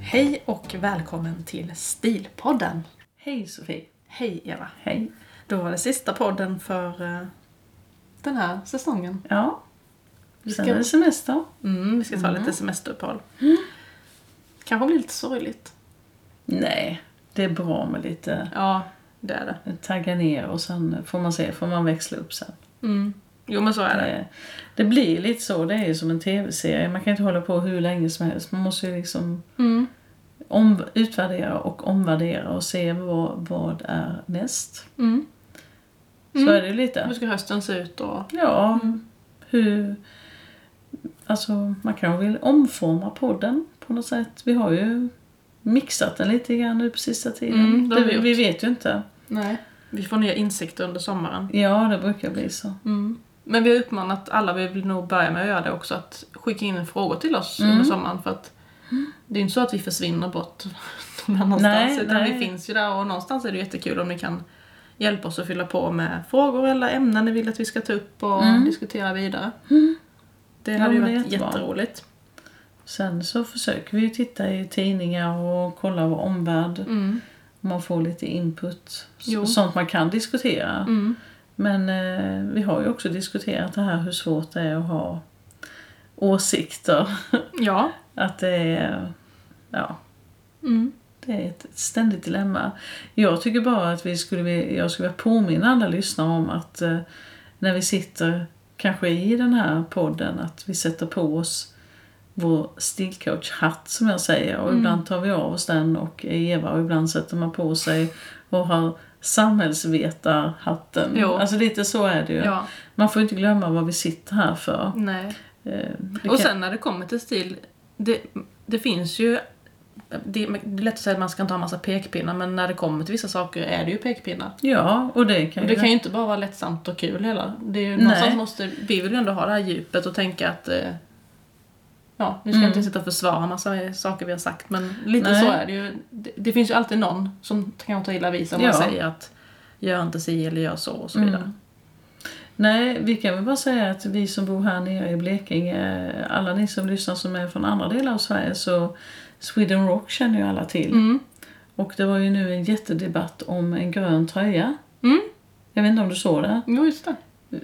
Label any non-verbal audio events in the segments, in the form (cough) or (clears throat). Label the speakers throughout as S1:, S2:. S1: Hej och välkommen till Stilpodden! Hej Sofie! Hej Eva!
S2: Hej.
S1: Då var det sista podden för eh, den här säsongen.
S2: Ja.
S1: Vi
S2: Sen
S1: ska-
S2: är det semester.
S1: Mm, vi ska ta lite semesteruppehåll. Kanske blir lite sorgligt.
S2: Nej, det är bra med lite
S1: Ja, det är det.
S2: tagga ner och sen får man se, får man växla upp sen.
S1: Mm. Jo men så är det.
S2: Eh, Det blir lite så, det är ju som en tv-serie. Man kan inte hålla på hur länge som helst. Man måste ju liksom
S1: Mm.
S2: om, utvärdera och omvärdera och se vad, vad är näst.
S1: Mm.
S2: Så
S1: Mm.
S2: är det ju lite.
S1: Hur ska hösten se ut och...
S2: Ja,
S1: Mm.
S2: hur... Alltså, man kanske vill omforma podden på något sätt. Vi har ju mixat den lite grann nu på sista tiden.
S1: Mm, det har vi
S2: vi,
S1: gjort.
S2: vi vet ju inte.
S1: Nej. Vi får nya insikter under sommaren.
S2: Ja, det brukar bli så.
S1: Men vi har uppmanat alla, vi vill nog börja med att göra det också, att skicka in frågor till oss under
S2: Mm.
S1: sommaren. För att det är ju inte så att vi försvinner bort (laughs) någon annanstans.
S2: Nej,
S1: utan
S2: nej.
S1: vi finns ju där och någonstans är det jättekul om ni kan hjälpa oss att fylla på med frågor eller ämnen ni vill att vi ska ta upp och diskutera vidare. Det
S2: Mm. Ja,
S1: hade ju
S2: men det är
S1: varit
S2: jättebra.
S1: jätteroligt.
S2: Sen så försöker vi ju titta i tidningar och kolla vår omvärld.
S1: Mm.
S2: Man får lite input.
S1: Jo.
S2: Så, sånt man kan diskutera.
S1: Mm.
S2: Men eh, vi har ju också diskuterat det här hur svårt det är att ha åsikter.
S1: Ja.
S2: Att det är... Ja.
S1: Mm.
S2: Det är ett ett ständigt dilemma. Jag tycker bara att vi skulle, vilja- jag skulle vilja påminna alla lyssnare om att eh, när vi sitter, kanske i den här podden, att vi sätter på oss vår stilcoach-hatt som jag säger
S1: Mm.
S2: och ibland tar vi av oss den och är Eva och ibland sätter man på sig och har samhällsvetarhatten.
S1: Jo.
S2: Alltså lite så är det ju.
S1: ja.
S2: Man får inte glömma vad vi sitter här för.
S1: Nej.
S2: Eh, det
S1: Och
S2: kan-
S1: sen när det kommer till stil, det, det finns ju... Det, det är lätt att säga att man ska inte ha massa pekpinnar, men när det kommer till vissa saker är det ju pekpinnar.
S2: ja, och det kan
S1: Och
S2: ju...
S1: det kan ju inte bara vara lättsamt och kul heller. Det är ju, någonstans
S2: Nej.
S1: måste, vi vill ju ändå ha det här djupet och tänka att... eh, Ja, nu ska jag inte sitta och försvara massa saker vi har sagt, men lite
S2: Nej.
S1: så är det ju. Det, det finns ju alltid någon som kan ta illa vid sig om
S2: Ja.
S1: man säger att gör inte si eller gör så och så vidare.
S2: Nej, vi kan väl bara säga att vi som bor här nere i Blekinge, alla ni som lyssnar som är från andra delar av Sverige, så Sweden Rock känner ju alla till.
S1: Mm.
S2: Och det var ju nu en jättedebatt om en grön tröja.
S1: Mm.
S2: Jag vet inte om du såg det?
S1: Jo, just det.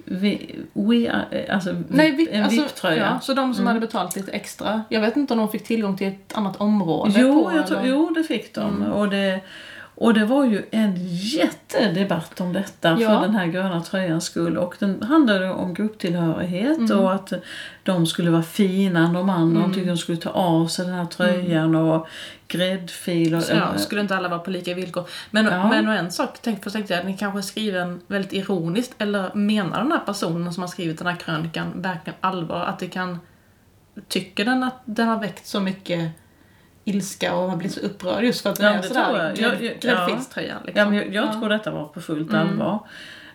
S2: Vi, we are, alltså,
S1: Nej, vi,
S2: en
S1: alltså, Ja,
S2: VIP-tröja. Mm.
S1: så de som hade betalat lite extra. Jag vet inte om de fick tillgång till ett annat område.
S2: jo,
S1: på,
S2: jag tror,
S1: eller- Mm.
S2: jo, det fick de. Och, det, och det var ju en jättedebatt om detta
S1: Ja.
S2: för den här gröna tröjans skull. Och den handlade om grupptillhörighet
S1: Mm.
S2: och att de skulle vara fina än de andra. De tyckte de skulle ta av sig den här tröjan och gräddfil. Och,
S1: Mm. Så, ja, skulle inte alla vara på lika villkor. Men,
S2: Ja.
S1: men och en sak tänk, först tänkte jag, ni kanske skriver en väldigt ironiskt, eller menar den här personen som har skrivit den här krönikan verkligen allvar? Att det kan... Tycker den att den har väckt så mycket ilska och man blir så upprörd just för att den
S2: Ja,
S1: är
S2: det tror
S1: sådär
S2: jag. Jag- jag-
S1: grädd-
S2: ja.
S1: gräddfilströjan?
S2: Ja,
S1: Liksom.
S2: men jag jag tror detta var på fullt allvar.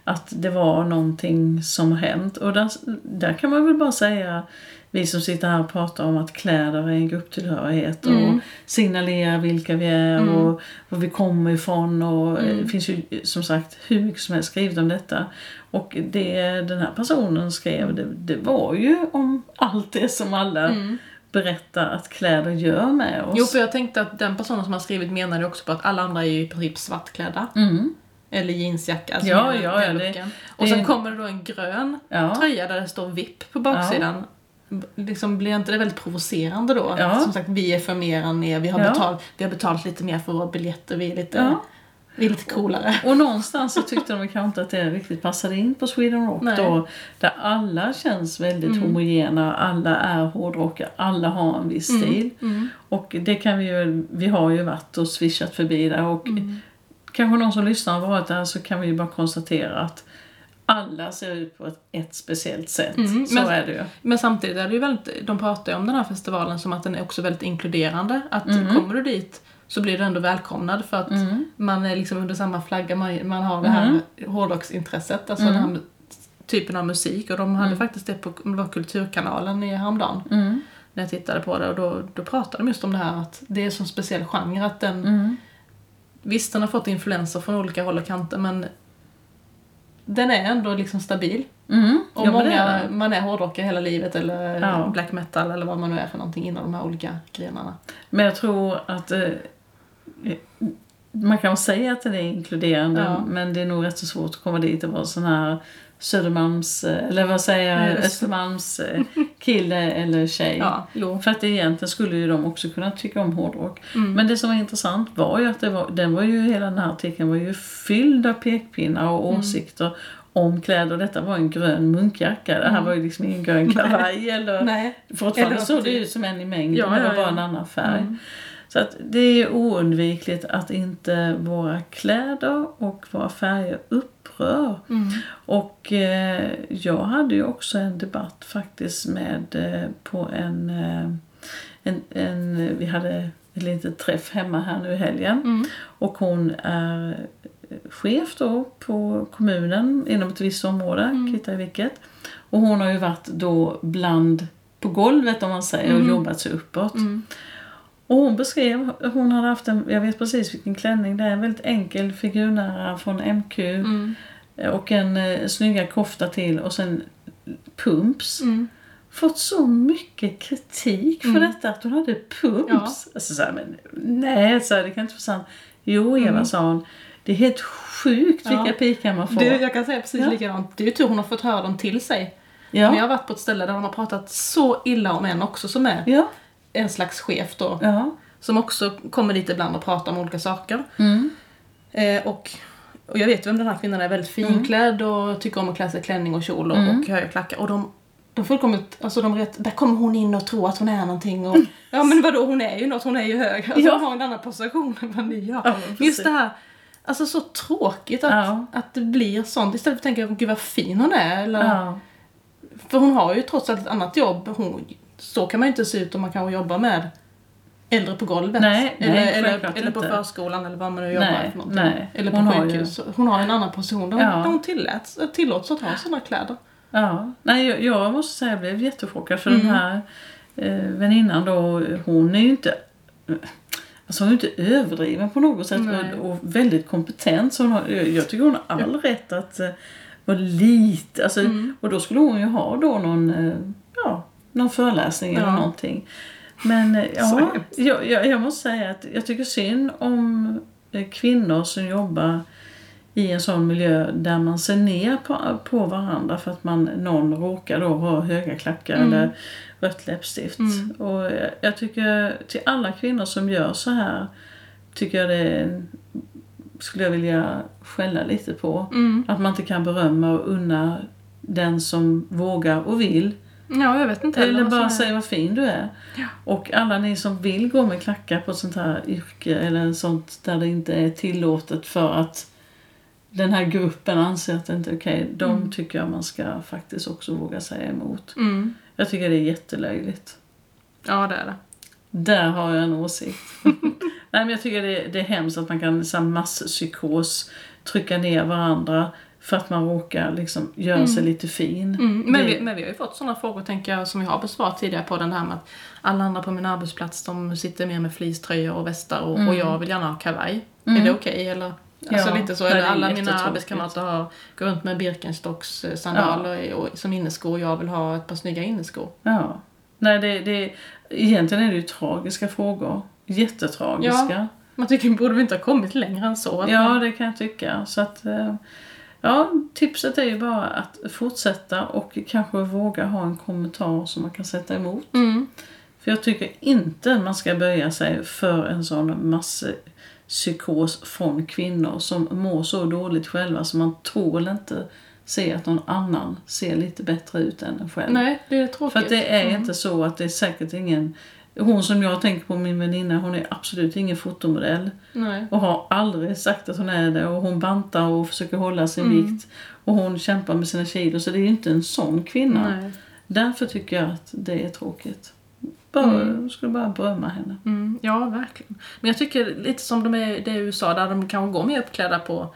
S2: Att det var någonting som hänt. Och där, där kan man väl bara säga, vi som sitter här och pratar om att kläder är en grupptillhörighet och signalerar vilka vi är och var vi kommer ifrån. Och eh, Det finns ju som sagt hur mycket som helst skrivet om detta. Och det den här personen skrev, det, det var ju om allt det som alla berättar att kläder gör med oss.
S1: Jo, för jag tänkte att den personen som har skrivit menade också på att alla andra är ju i princip svartklädda.
S2: Mm.
S1: Eller jeansjacka. Alltså
S2: Ja,
S1: med
S2: ja,
S1: den
S2: ja, det-
S1: looken.
S2: det-
S1: och sen kommer det då en grön
S2: Ja.
S1: tröja där det står VIP på baksidan. B- Liksom blir inte det väldigt provocerande då? Att
S2: Ja.
S1: Som sagt, vi är för mer än er, vi har,
S2: Ja.
S1: betalt, vi har betalt lite mer för våra biljetter, vi är lite,
S2: Ja.
S1: vi är lite coolare.
S2: Och någonstans så tyckte de kanske inte att det riktigt passade in på Sweden Rock
S1: Nej. Mm.
S2: då. Där alla känns väldigt homogena, alla är hårdrockare, alla har en
S1: Mm,
S2: viss stil. Och det kan vi ju, vi har ju varit och swishat förbi där och
S1: Mm.
S2: kanske någon som lyssnar har varit där så kan vi ju bara konstatera att alla ser ut på ett, ett speciellt sätt. så
S1: Mm, men-
S2: är det ju.
S1: Men samtidigt är det ju väldigt, de pratar ju om den här festivalen som att den är också väldigt inkluderande. Att kommer du dit så blir du ändå välkomnad för att man är liksom under samma flagga, man, man har det här hårdrocksintresset, alltså den här typen av musik. Och de hade faktiskt det på det var Kulturkanalen i häromdagen.
S2: Mm.
S1: När jag tittade på det och då, då pratade de just om det här att det är en sån speciell genre att den Visst, den har fått influenser från olika håll och kanter men den är ändå liksom stabil.
S2: Mm.
S1: Och
S2: ja, men det är
S1: många,
S2: den.
S1: man är hårdrockare hela livet eller
S2: Ja.
S1: black metal eller vad man nu är för någonting inom de här olika grenarna.
S2: Men jag tror att eh, man kan väl säga att den är inkluderande
S1: Ja.
S2: men det är nog rätt så svårt att komma dit och vara sån här Södermalms, eh, eller vad säger
S1: Nej,
S2: jag,
S1: Öst-
S2: Östermalms eh, kille eller tjej.
S1: Ja, jo.
S2: För att egentligen skulle ju de också kunna tycka om hårdrock.
S1: Mm.
S2: Men det som var intressant var ju att det var, den var ju, hela den här artikeln var ju fylld av pekpinnar och
S1: Mm.
S2: åsikter om kläder. Detta var en grön munkjacka. Det här var ju liksom ingen grön kavaj eller
S1: Mm. (laughs) Nej.
S2: Fortfarande
S1: Eller
S2: såg
S1: att
S2: det
S1: det-
S2: ut som en i mängden,
S1: Ja,
S2: men det var
S1: ja, Mm.
S2: bara
S1: ja.
S2: en annan färg. Så att det är oundvikligt att inte våra kläder och våra färger upprör.
S1: Mm.
S2: Och eh, jag hade ju också en debatt faktiskt med eh, på en, eh, en, en... Vi hade ett litet träff hemma här nu i helgen.
S1: Mm.
S2: Och hon är chef då på kommunen inom ett visst område,
S1: Mm.
S2: kvittar vilket. Och hon har ju varit då bland på golvet om man säger och jobbat sig uppåt.
S1: Mm.
S2: Och hon beskrev, hon hade haft en, jag vet precis vilken klänning det är, en väldigt enkel figurnära från MQ
S1: Mm.
S2: och en eh, snygga kofta till och sen pumps.
S1: Mm.
S2: Fått så mycket kritik för
S1: Mm.
S2: detta att hon hade pumps. Alltså så här, men nej, så här, det kan inte vara sant. Jo, Eva sa hon, det är helt sjukt
S1: Mm. Ja.
S2: vilka pikar man får.
S1: Du, jag kan säga precis
S2: Ja.
S1: likadant. Det är ju tur hon har fått höra dem till sig.
S2: ja.
S1: Men jag har varit på ett ställe där de har pratat så illa om en också som är
S2: ja,
S1: en slags chef då.
S2: ja.
S1: Som också kommer dit ibland och pratar om olika saker.
S2: Mm.
S1: Eh, och, och jag vet vem den här kvinnan är, väldigt
S2: Mm.
S1: finklädd och tycker om att klä sig i klänning och kjol och, och höga klackar. Och de, de fullkomligt, alltså de rätt, där kommer hon in och tror att hon är någonting och ja men vadå hon är ju något, hon är ju hög. Alltså
S2: Mm. Ja.
S1: hon har en annan position än vad ni har.
S2: Ja, men precis.
S1: Just det här, alltså så tråkigt att,
S2: Ja.
S1: att det blir sånt istället för att tänka gud vad fin hon är eller
S2: ja.
S1: för hon har ju trots allt ett annat jobb. Hon, så kan man ju inte se ut om man kanske jobbar med äldre på golvet.
S2: Nej, nej,
S1: eller, eller,
S2: självklart
S1: eller på
S2: inte.
S1: förskolan eller vad man nu jobbar
S2: Nej,
S1: för någonting.
S2: nej.
S1: Eller på
S2: Hon har ju-
S1: sjukhus. Hon har en annan position där hon,
S2: Ja.
S1: där hon tilläts, tillåts att ha sådana kläder.
S2: Ja, nej jag, jag måste säga jag blev jättechockad för
S1: Mm.
S2: den här eh, väninnan då, hon är ju inte Alltså hon är ju inte överdriven på något sätt
S1: Nej.
S2: och, och väldigt kompetent. Så hon har, jag jag tycker hon har all rätt att eh, vara lite, alltså,
S1: Mm.
S2: och då skulle hon ju ha då någon, eh, ja, någon föreläsning eller
S1: Ja.
S2: någonting. Men eh,
S1: Så
S2: ja,
S1: hemskt.
S2: jag, jag, jag måste säga att jag tycker synd om eh, kvinnor som jobbar i en sån miljö där man ser ner på, på varandra för att man, någon råkar då ha höga klackar
S1: Mm.
S2: eller rött läppstift. Och jag, jag tycker till alla kvinnor som gör så här tycker jag det är- skulle jag vilja skälla lite på.
S1: Mm.
S2: Att man inte kan berömma och unna den som vågar och vill.
S1: Ja, jag vet inte
S2: Eller
S1: vad som
S2: bara
S1: är-
S2: säga vad fin du är.
S1: Ja.
S2: Och alla ni som vill gå med klackar på ett sånt här yrke eller sånt där det inte är tillåtet för att den här gruppen anser att det inte är okej. de tycker jag man ska faktiskt också våga säga emot.
S1: Mm.
S2: Jag tycker det är jättelöjligt.
S1: Ja, det är det.
S2: Där har jag en
S1: (laughs)
S2: åsikt. Nej men jag tycker det är, det är hemskt att man kan så här masspsykos trycka ner varandra för att man råkar liksom göra sig lite fin.
S1: Mm. Men,
S2: Det-
S1: vi, men vi har ju fått sådana frågor, tänker jag, som jag har besvarat tidigare på den här med att alla andra på min arbetsplats, de sitter mer med fleecetröjor och västar och, och jag vill gärna ha kavaj. Är det okej, eller? Alltså
S2: Mm. Ja,
S1: lite så.
S2: nej,
S1: Eller
S2: det är
S1: alla mina
S2: jättetråkigt.
S1: arbetskamrater har, går runt med Birkenstocks eh, sandaler i- och, som inneskor och jag vill ha ett par snygga inneskor.
S2: Ja. Nej, det, det, egentligen är det ju tragiska frågor. Jättetragiska.
S1: Man tycker, borde vi inte ha kommit längre än så?
S2: Ja,
S1: Att-
S2: det kan jag tycka. Så att, eh, ja, tipset är ju bara att fortsätta och kanske våga ha en kommentar som man kan sätta emot.
S1: Mm.
S2: För jag tycker inte man ska böja sig för en sån masspsykos från kvinnor som mår så dåligt själva så man tål inte se att någon annan ser lite bättre ut än en själv.
S1: Nej, det är tråkigt.
S2: För att det
S1: Mm.
S2: är inte så att det är säkert ingen... Hon som jag tänker på, min väninna, hon är absolut ingen fotomodell.
S1: Nej.
S2: Och har aldrig sagt att hon är det. Och hon bantar och försöker hålla sin
S1: Mm.
S2: vikt. Och hon kämpar med sina kilo. Så det är ju inte en sån kvinna.
S1: Nej.
S2: Därför tycker jag att det är tråkigt. Bara, Jag skulle bara berömma henne.
S1: Mm, ja, verkligen. Men jag tycker lite som de är, det är i USA där de kanske går mer uppklädda på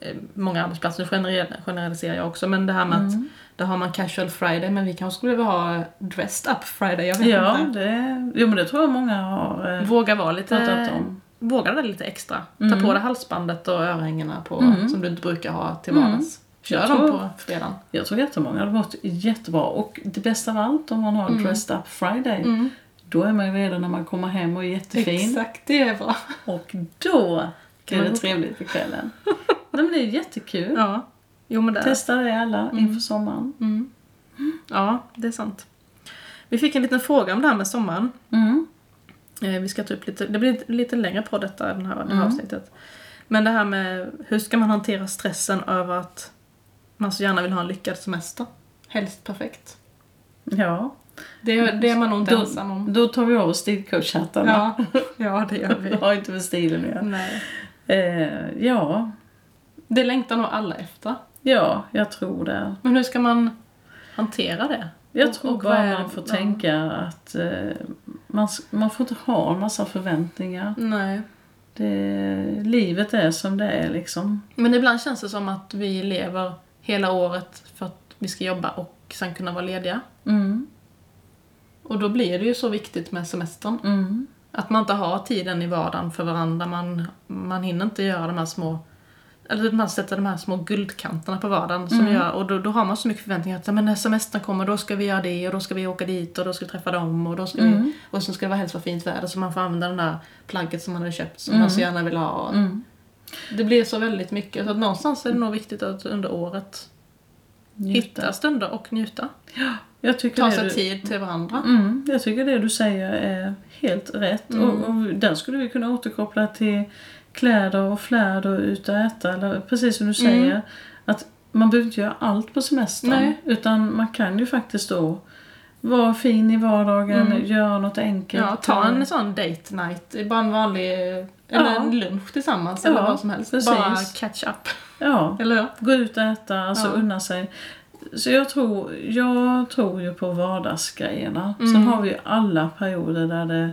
S1: eh, många arbetsplatser, nu generell- generaliserar jag också, men det här med att där har man casual friday men vi kanske skulle vilja ha dressed up friday, jag vet
S2: Ja,
S1: inte.
S2: det, jo, men det tror jag många har eh,
S1: Våga vara lite,
S2: pratat om.
S1: våga det lite extra. Ta på dig halsbandet och örhängena på, som du inte brukar ha till vardags. Kör
S2: Jag
S1: de
S2: tror-
S1: på fredagen.
S2: Jag tror jättemånga hade mått jättebra. Och det bästa av allt om man har en
S1: Mm.
S2: Dressed Up Friday, då är man ju redan när man kommer hem och är jättefin.
S1: Exakt, det är bra.
S2: Och då blir
S1: man
S2: det
S1: gå
S2: trevligt på kvällen. Nej, men (laughs) det är jättekul.
S1: Ja. Mm. Jo men det är
S2: Testa det alla inför sommaren.
S1: Ja, det är sant. Vi fick en liten fråga om det här med sommaren.
S2: Mm.
S1: Eh, Vi ska ta upp lite, det blir lite, lite längre på detta, den här, det här avsnittet. Men det här med hur ska man hantera stressen över att man så gärna vill ha en lyckad semester? Helst perfekt.
S2: Ja.
S1: Det, det är man nog inte
S2: Då,
S1: ensam om.
S2: då tar vi av oss stilcoachhattarna. (laughs)
S1: Ja, (laughs) ja, det gör
S2: Det
S1: vi.
S2: har inte med stilen att
S1: (laughs)
S2: göra.
S1: Nej.
S2: Eh, ja.
S1: Det längtar nog alla efter.
S2: ja, jag tror det.
S1: Men hur ska man hantera det?
S2: Jag
S1: Och-
S2: tror
S1: och vad
S2: bara
S1: är-
S2: man får
S1: ja.
S2: tänka att eh, man, s- man får inte ha en massa förväntningar.
S1: Nej.
S2: Det, livet är som det är liksom.
S1: Men ibland känns det som att vi lever hela året för att vi ska jobba och sen kunna vara lediga.
S2: Mm,
S1: Och då blir det ju så viktigt med semestern.
S2: mm,
S1: Att man inte har tiden i vardagen för varandra. Man, man hinner inte göra de här små eller man sätter de här små guldkanterna på vardagen som
S2: Mm.
S1: gör, och då, då har man så mycket förväntningar att så här, men när semestern kommer då ska vi göra det och då ska vi åka dit och då ska vi träffa dem och då ska
S2: Mm.
S1: vi, och sen ska det vara helst vara fint väder så man får använda den där plagget som man har köpt som man så gärna vill ha. Och
S2: mm.
S1: Det blir så väldigt mycket så att någonstans är det nog viktigt att under året hitta stunder och njuta.
S2: Jag tycker
S1: Ta
S2: det
S1: sig
S2: du-
S1: tid till varandra.
S2: Mm, jag tycker det du säger är helt rätt.
S1: Mm.
S2: Och, och där skulle vi kunna återkoppla till kläder och flärd och ut och äta. Eller, precis som du
S1: Mm.
S2: säger. Att man behöver inte göra allt på semestern.
S1: Nej.
S2: Utan man kan ju faktiskt då vara fin i vardagen, göra något enkelt.
S1: Mm. Ja, ta en sån date night. Bara en vanlig, eh, eller
S2: Ja.
S1: en lunch tillsammans
S2: Ja,
S1: eller vad som helst.
S2: precis.
S1: Bara catch up. (laughs)
S2: Ja,
S1: Eller hur?
S2: gå ut och äta, alltså
S1: Ja.
S2: unna sig. Så jag tror, jag tror ju på vardagsgrejerna. Sen har vi ju alla perioder där det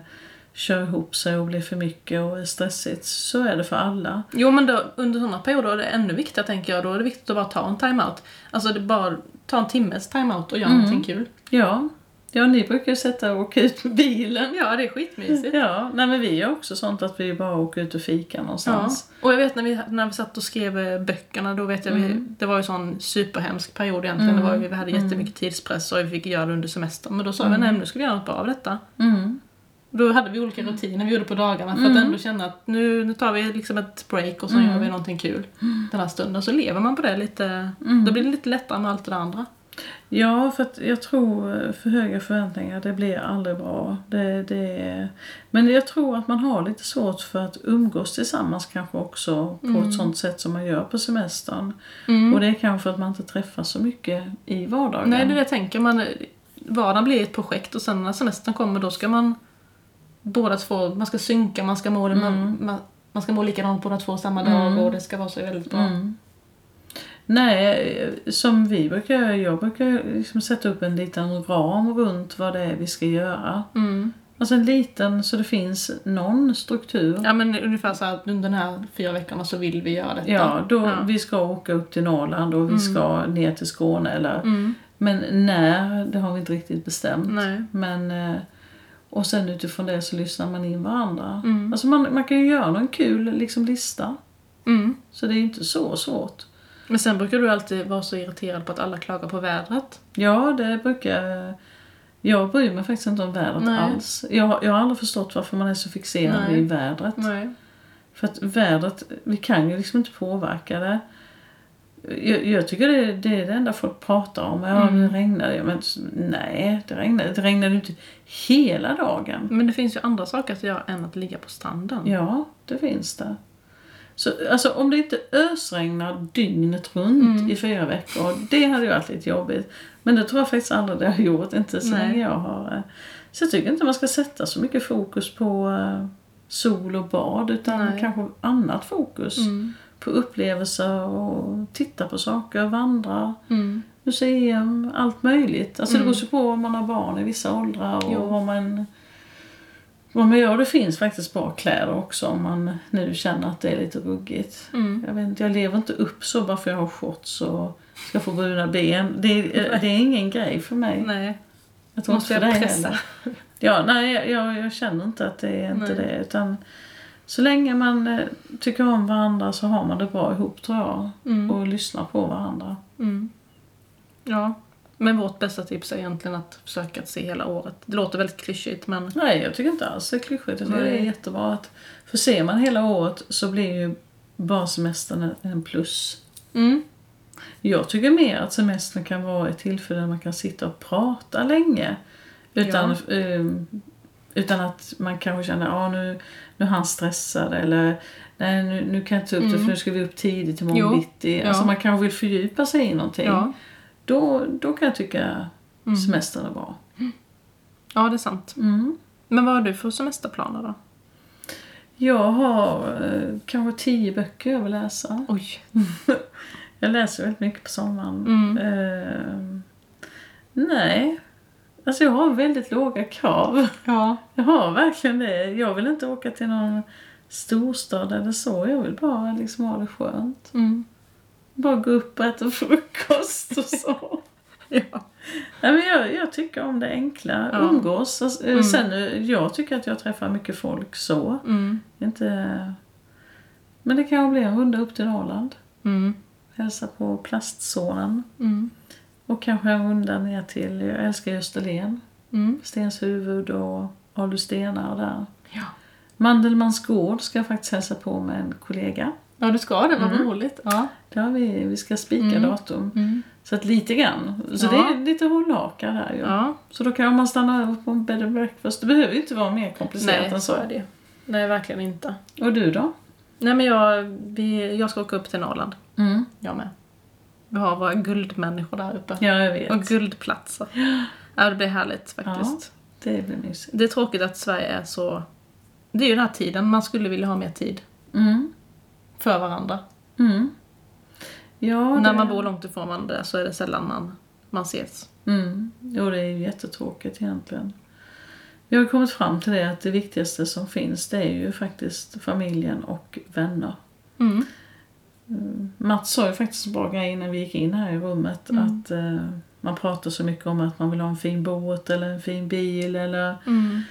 S2: kör ihop sig och blir för mycket och är stressigt. Så är det för alla.
S1: Jo men då, under sådana perioder är det ännu viktigare tänker jag. Då är det viktigt att bara ta en timeout. Alltså det är bara ta en timmes timeout och göra någonting (laughs) kul.
S2: Ja, ja ni brukar ju sätta och åka ut med bilen.
S1: Ja det är skitmysigt.
S2: Ja, nej men vi gör också sånt att vi bara åker ut och
S1: (laughs)
S2: fikar
S1: Ja.
S2: någonstans.
S1: Och jag vet när vi, när vi satt och skrev eh, böckerna, då vet jag vi, det var ju en sån superhemsk period egentligen. Det var, ju- vi hade jättemycket tidspress och vi fick göra det under semestern. Men då sa vi, nej men nu ska vi göra något bra av detta.
S2: Mm.
S1: Då hade vi olika rutiner vi gjorde på dagarna för att ändå känna att nu, nu tar vi liksom ett break och så gör vi någonting kul den här stunden. Så lever man på det lite, då blir det lite lättare med allt det där andra.
S2: Ja, för att jag tror eh, för höga förväntningar, det blir aldrig bra. Det, det är... Men jag tror att man har lite svårt för att umgås tillsammans kanske också på
S1: Mm.
S2: ett sånt sätt som man gör på semestern. Och det är kanske att man inte träffas så mycket i vardagen.
S1: Nej, det är det jag tänker. Man, vardagen blir ett projekt och sen när semestern kommer då ska man båda två, man ska synka, man ska må, man, man, man ska må likadant båda två samma dag och det ska vara så väldigt bra.
S2: Nej, eh, som vi brukar göra, jag brukar liksom sätta upp en liten ram runt vad det är vi ska göra.
S1: Mm.
S2: Alltså en liten, så det finns någon struktur.
S1: Ja men ungefär så här att under de här fyra veckorna så vill vi göra detta.
S2: Ja, då
S1: Ja.
S2: vi ska åka upp till Norrland och vi ska ner till Skåne eller
S1: Mm.
S2: Men när, det har vi inte riktigt bestämt.
S1: Nej.
S2: Men, eh, och sen utifrån det så lyssnar man in varandra.
S1: Mm.
S2: Alltså man, man kan ju göra någon kul liksom, lista.
S1: Mm.
S2: Så det är ju inte så svårt.
S1: Men sen brukar du alltid vara så irriterad på att alla klagar på vädret.
S2: Ja, det brukar... Jag bryr mig faktiskt inte om vädret
S1: Nej.
S2: alls. Jag, jag har aldrig förstått varför man är så fixerad
S1: Nej.
S2: vid vädret.
S1: Nej.
S2: För att vädret, vi kan ju liksom inte påverka det. Jag, jag tycker det, det är det enda folk pratar om. Ja,
S1: Mm.
S2: nu regnar det. Men s- nej, det regnar det regnar ju inte hela dagen.
S1: Men det finns ju andra saker att göra än att ligga på stranden.
S2: Ja, det finns det. Så, alltså om det inte ösregnar dygnet runt
S1: Mm.
S2: i fyra veckor, det hade ju varit lite jobbigt. Men det tror jag faktiskt aldrig det har gjort, inte så
S1: Nej.
S2: länge jag har... eh. Så jag tycker inte man ska sätta så mycket fokus på eh, sol och bad, utan
S1: Nej. Mm.
S2: kanske annat fokus. På upplevelser och titta på saker, vandra,
S1: Mm.
S2: museum, allt möjligt. Alltså det beror sig på om man har barn i vissa åldrar och
S1: Jo.
S2: vad man... Vad man gör, det finns faktiskt bra kläder också om man nu känner att det är lite ruggigt.
S1: Mm.
S2: Jag, vet inte, jag lever inte upp så bara för jag har shorts och ska få bruna ben. Det, är- eh, det är ingen grej för mig.
S1: Nej.
S2: Jag tror
S1: Måste
S2: inte för
S1: jag
S2: dig
S1: pressa?
S2: heller. Ja, nej, jag, jag känner inte att det är inte
S1: Nej.
S2: det. Utan Så länge man eh, tycker om varandra så har man det bra ihop tror jag. Och lyssnar på varandra.
S1: Mm. Ja. Men vårt bästa tips är egentligen att försöka att se hela året. Det låter väldigt klyschigt men
S2: Nej, jag tycker inte alls det är klyschigt. Jag tycker det är
S1: Nej.
S2: jättebra att... För ser man hela året så blir ju bara semestern en plus.
S1: mm.
S2: Jag tycker mer att semestern kan vara ett tillfälle där man kan sitta och prata länge. Utan, eh, utan att man kanske känner att ah, nu, nu är han stressad eller nej, nu, nu kan jag inte ta upp det för nu ska vi upp tidigt imorgon
S1: Mm. Jo,
S2: bitti.
S1: ja.
S2: Alltså man kanske vill fördjupa sig i någonting.
S1: ja. Mm.
S2: Då, då kan jag tycka semestern är bra.
S1: ja, det är sant.
S2: Mm.
S1: Men vad har du för semesterplaner då?
S2: Jag har eh, kanske tio böcker jag vill läsa.
S1: Oj.
S2: Jag läser väldigt mycket på sommaren.
S1: Mm.
S2: Eh, nej. Alltså jag har väldigt låga krav.
S1: Ja.
S2: Jag har verkligen det. Jag vill inte åka till någon storstad eller så. Jag vill bara liksom ha det skönt.
S1: Mm.
S2: Bara gå upp och äta (laughs) frukost och så.
S1: (laughs) Ja.
S2: Nej, men jag, jag tycker om det enkla.
S1: Ja.
S2: Umgås. Alltså, eh, Sen, eh, jag tycker att jag träffar mycket folk så.
S1: Mm.
S2: Inte... Men det kan bli en runda upp till Norrland.
S1: Mm.
S2: Hälsa på plastsonen.
S1: Mm.
S2: Och kanske en runda ner till, jag älskar ju Österlen,
S1: Mm.
S2: Stenshuvud och Alustena och där.
S1: Ja.
S2: Mandelmans gård ska jag faktiskt hälsa på med en kollega.
S1: ja, du ska det. Vad roligt. Ja.
S2: Där har vi, vi ska spika datum.
S1: Mm.
S2: Så att lite grann. Så
S1: Ja.
S2: det är lite hållhakar där ju.
S1: ja.
S2: Så då kan man stanna över på en bed and breakfast. Det behöver ju inte vara mer komplicerat än så.
S1: det ju. Nej, verkligen inte.
S2: Och du då?
S1: Nej, men jag, vi, jag ska åka upp till Norrland.
S2: Mm.
S1: Jag med. Vi har våra guldmänniskor där uppe.
S2: Ja, jag vet.
S1: Och guldplatser. Ja, det blir härligt faktiskt.
S2: Det blir mysigt.
S1: Det är tråkigt att Sverige är så... Det är ju den här tiden, man skulle vilja ha mer tid
S2: Mm.
S1: för varandra.
S2: Mm. Ja,
S1: När
S2: det-
S1: man bor långt ifrån varandra så är det sällan man, man ses.
S2: Mm. Jo, det är ju jättetråkigt egentligen. Vi har ju kommit fram till det att det viktigaste som finns det är ju faktiskt familjen och vänner. Mm.
S1: Mm.
S2: Mats sa ju faktiskt en bra grej innan vi gick in här i rummet
S1: Mm.
S2: att eh, man pratar så mycket om att man vill ha en fin båt eller en fin bil eller
S1: Mm.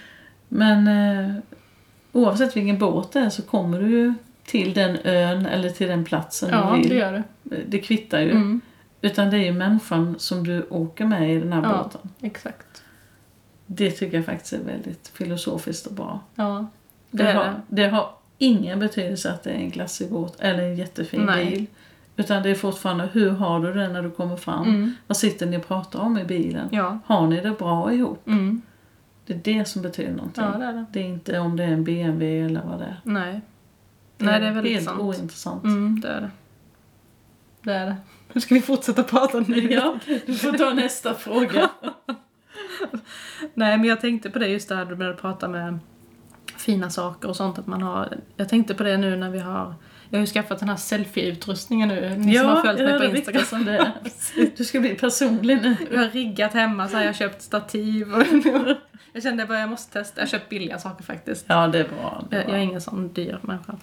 S2: men eh, oavsett vilken båt det är så kommer du ju till den ön eller till den platsen
S1: Ja,
S2: du vill.
S1: det gör det.
S2: Det kvittar ju.
S1: Mm.
S2: Utan det är ju människan som du åker med i den här
S1: Ja.
S2: båten.
S1: Exakt.
S2: Det tycker jag faktiskt är väldigt filosofiskt och bra.
S1: Ja.
S2: Det,
S1: Det är
S2: har, det har ingen betydelse att det är en glassig båt eller en jättefin
S1: Nej.
S2: bil. Utan det är fortfarande, hur har du det när du kommer fram?
S1: Mm.
S2: Vad sitter ni och pratar om i bilen?
S1: Ja.
S2: Har ni det bra ihop?
S1: Mm.
S2: Det är det som betyder någonting.
S1: Ja, det är det.
S2: Det är inte om det är en BMW eller vad det är.
S1: Nej. Nej, det är väldigt
S2: helt
S1: sant.
S2: ointressant.
S1: Mm, det är det. Det är det. (laughs) Nu ska vi fortsätta prata nu.
S2: (laughs) (laughs)
S1: (laughs)
S2: Ja, du får ta nästa fråga.
S1: Nej, men jag tänkte på det just där du började prata med fina saker och sånt att man har. Jag tänkte på det nu när vi har. Jag har ju skaffat den här selfie-utrustningen nu. Ni som har följt mig på Instagram.
S2: som
S1: (laughs)
S2: det är. Du ska bli personlig nu.
S1: Jag har riggat hemma, så här, jag har köpt stativ och (laughs) Jag kände bara jag måste testa. Jag har köpt billiga saker faktiskt.
S2: Ja, det är bra. Det är
S1: Jag,
S2: bra.
S1: jag är ingen sån dyr människa.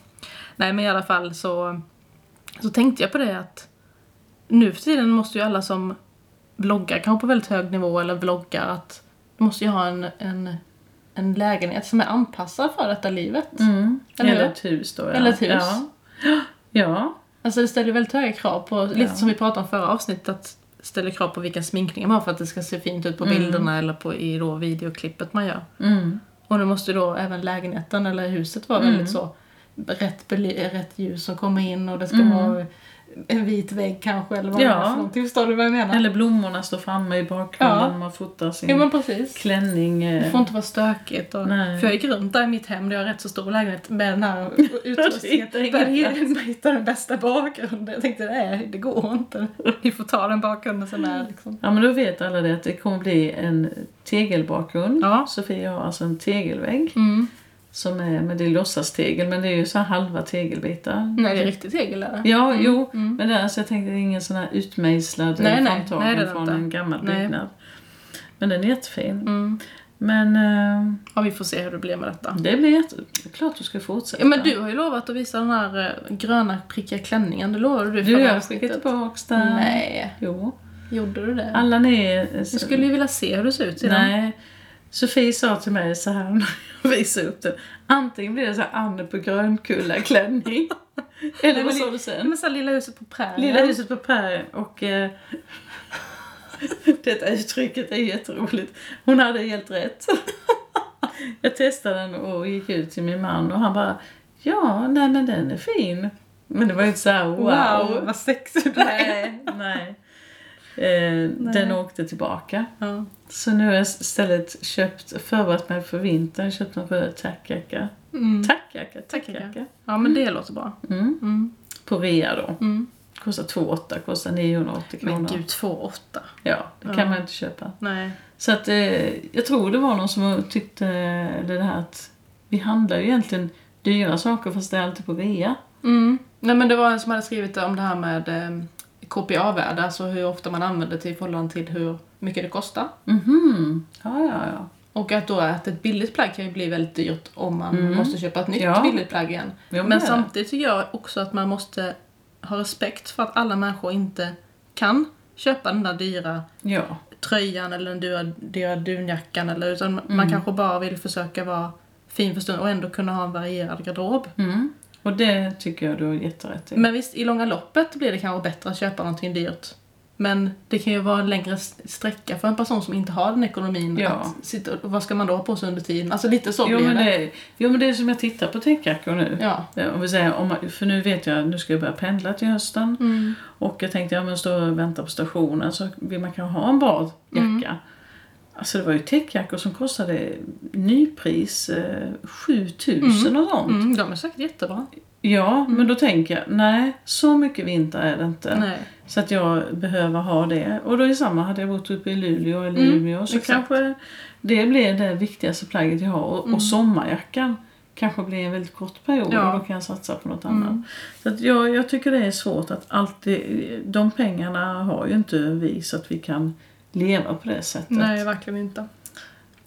S1: Nej men i alla fall så, så tänkte jag på det att nu för tiden måste ju alla som bloggar, kanske på väldigt hög nivå eller vloggar, att de måste ju ha en, en, en lägenhet som är anpassad för detta livet.
S2: Mm.
S1: Eller
S2: Eller,
S1: hur?
S2: ett hus då, ja.
S1: Eller ett hus.
S2: Ja. ja.
S1: Alltså det ställer ju väldigt höga krav på, lite
S2: Ja.
S1: som vi pratade om förra avsnittet, att ställer krav på vilken sminkning man har för att det ska se fint ut på bilderna eller på, i då videoklippet man gör.
S2: Mm.
S1: Och då måste ju då även lägenheten eller huset vara väldigt så rätt, bely- rätt ljus som kommer in och det ska vara en vit vägg kanske eller vad det
S2: Ja.
S1: är för någonting. Förstår du vad jag menar?
S2: Eller blommorna står framme i bakgrunden
S1: Ja.
S2: när man fotar sin
S1: Ja men precis.
S2: klänning. eh.
S1: Det får inte vara stökigt. Och,
S2: Nej.
S1: för jag gick runt där i mitt hem där jag har rätt så stor lägenhet med den (laughs) här utrustningen.
S2: hittar inget
S1: Började hitta- hitta den bästa bakgrunden. Jag tänkte nej det går inte. Vi får ta den bakgrunden som är liksom.
S2: Ja men då vet alla det att det kommer bli en tegelbakgrund.
S1: Ja.
S2: Sofia har alltså en tegelvägg.
S1: Mm.
S2: Som är, men det är låtsastegel men det är ju så här halva tegelbitar.
S1: Nej det är riktigt tegel är det.
S2: Ja, jo. Men det, alltså, jag tänkte det är ingen sån här utmejslad
S1: Mm. Nej, nej.
S2: framtagning
S1: Nej, det är det
S2: från
S1: inte.
S2: en gammal
S1: Nej.
S2: byggnad. Men den är jättefin.
S1: Mm.
S2: Men eh,
S1: Ja vi får se hur det blir med detta.
S2: det blir jätte... Klart du ska fortsätta.
S1: Ja, men du har ju lovat att visa den här eh, gröna prickiga klänningen, det lovade du i
S2: Du,
S1: förra
S2: jag skickar
S1: avsnittet.
S2: tillbaks den.
S1: Nej,
S2: Jo.
S1: gjorde du det?
S2: Alla ni...
S1: Jag skulle ju vilja se hur det ser ut i den.
S2: Nej. Sofie sa till mig så här när visa upp den. Antingen blir det så här Anne på
S1: (laughs)
S2: Grönkulla klänning. eller vad sa du
S1: Nej,
S2: sen?
S1: Men så här, Lilla huset på prärien.
S2: Lilla huset på prärien och... Eh, (laughs) detta uttrycket är jätteroligt. Hon hade helt rätt. (laughs) Jag testade den och gick ut till min man och han bara Ja, nej men den är fin. Men det var ju inte så här wow.
S1: Wow, vad sexigt det är.
S2: Nej, nej. Eh, Den åkte tillbaka.
S1: (laughs) Ja.
S2: Så nu har jag istället köpt, förberett mig för vintern, köpt en röd tackjacka.
S1: Mm.
S2: Tackjacka, tackjacka.
S1: Tackjacka. ja, men det låter bra.
S2: Mm.
S1: Mm.
S2: På rea då.
S1: Mm.
S2: Kostar 2,8, kostar 980 kronor.
S1: Men gud, 2,8.
S2: Ja, det kan
S1: Ja.
S2: man inte köpa.
S1: Nej.
S2: Så att eh, jag tror det var någon som tyckte det här att vi handlar ju egentligen dyra saker fast det är alltid på rea.
S1: Mm. Nej men det var en som hade skrivit om det här med eh, KPA-värde, alltså hur ofta man använder det i förhållande till hur mycket det kostar.
S2: Mhm, ja ja ja.
S1: Och att då att ett billigt plagg kan ju bli väldigt dyrt om man måste köpa ett nytt
S2: Mm. Ja.
S1: billigt plagg igen.
S2: Jo, men
S1: men
S2: det är
S1: samtidigt tycker jag också att man måste ha respekt för att alla människor inte kan köpa den där dyra
S2: Ja,
S1: tröjan eller den dyra, dyra dunjackan eller utan
S2: Mm.
S1: man kanske bara vill försöka vara fin för stunden och ändå kunna ha en varierad garderob.
S2: mm. och det tycker jag du har jätterätt i.
S1: Men visst, i långa loppet blir det kanske bättre att köpa någonting dyrt. Men det kan ju vara en längre s- sträcka för en person som inte har den ekonomin.
S2: Ja.
S1: Att sitta, och vad ska man då ha på sig under tiden? Alltså lite så
S2: jo,
S1: blir
S2: men
S1: det.
S2: det, jo men det är som jag tittar på täckjackor nu.
S1: Ja.
S2: Ja, Om vi säger, om, man- för nu vet jag, nu ska jag börja pendla till
S1: Mm.
S2: hösten. Och jag tänkte, ja men stå och vänta på stationen så vill man kanske ha en bra jacka.
S1: Mm.
S2: Alltså det var ju täckjackor som kostade nypris eh, 7000 och sånt.
S1: Mm, de är säkert jättebra.
S2: Ja, men då tänker jag, nej så mycket vinter är det inte.
S1: Nej.
S2: Så att jag behöver ha det. Och då är samma, hade jag bott uppe i Luleå eller
S1: Mm,
S2: Umeå så
S1: exakt. Mm.
S2: kanske det blir det viktigaste plagget jag har. Och, och sommarjackan kanske blir en väldigt kort period
S1: Ja. Mm.
S2: och då kan jag satsa på något annat. Så att jag, jag tycker det är svårt att alltid, de pengarna har ju inte vi så att vi kan leva på det sättet.
S1: Nej, verkligen inte.
S2: och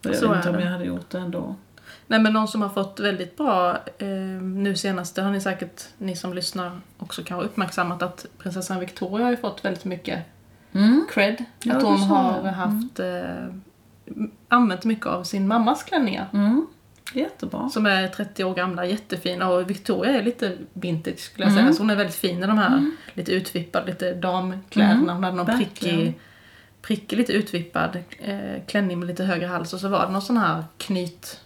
S2: jag
S1: så
S2: vet inte
S1: är
S2: om
S1: det.
S2: jag hade gjort det ändå.
S1: Nej men någon som har fått väldigt bra eh, nu senast, det har ni säkert, ni som lyssnar också kanske uppmärksammat att prinsessan Victoria har ju fått väldigt mycket
S2: Mm,
S1: cred.
S2: Ja,
S1: att
S2: det
S1: hon
S2: sa
S1: har
S2: jag. Mm.
S1: haft eh, använt mycket av sin mammas klänningar.
S2: Mm. Jättebra.
S1: Som är 30 år gamla, jättefina. Och Victoria är lite vintage skulle jag säga.
S2: Mm.
S1: Så hon är väldigt fin i de här lite utvippade, lite damkläderna. Hon hade någon
S2: Mm. verkligen.
S1: prickig, prickig, lite utvippad eh, klänning med lite högre hals. Och så var det någon sån här knyt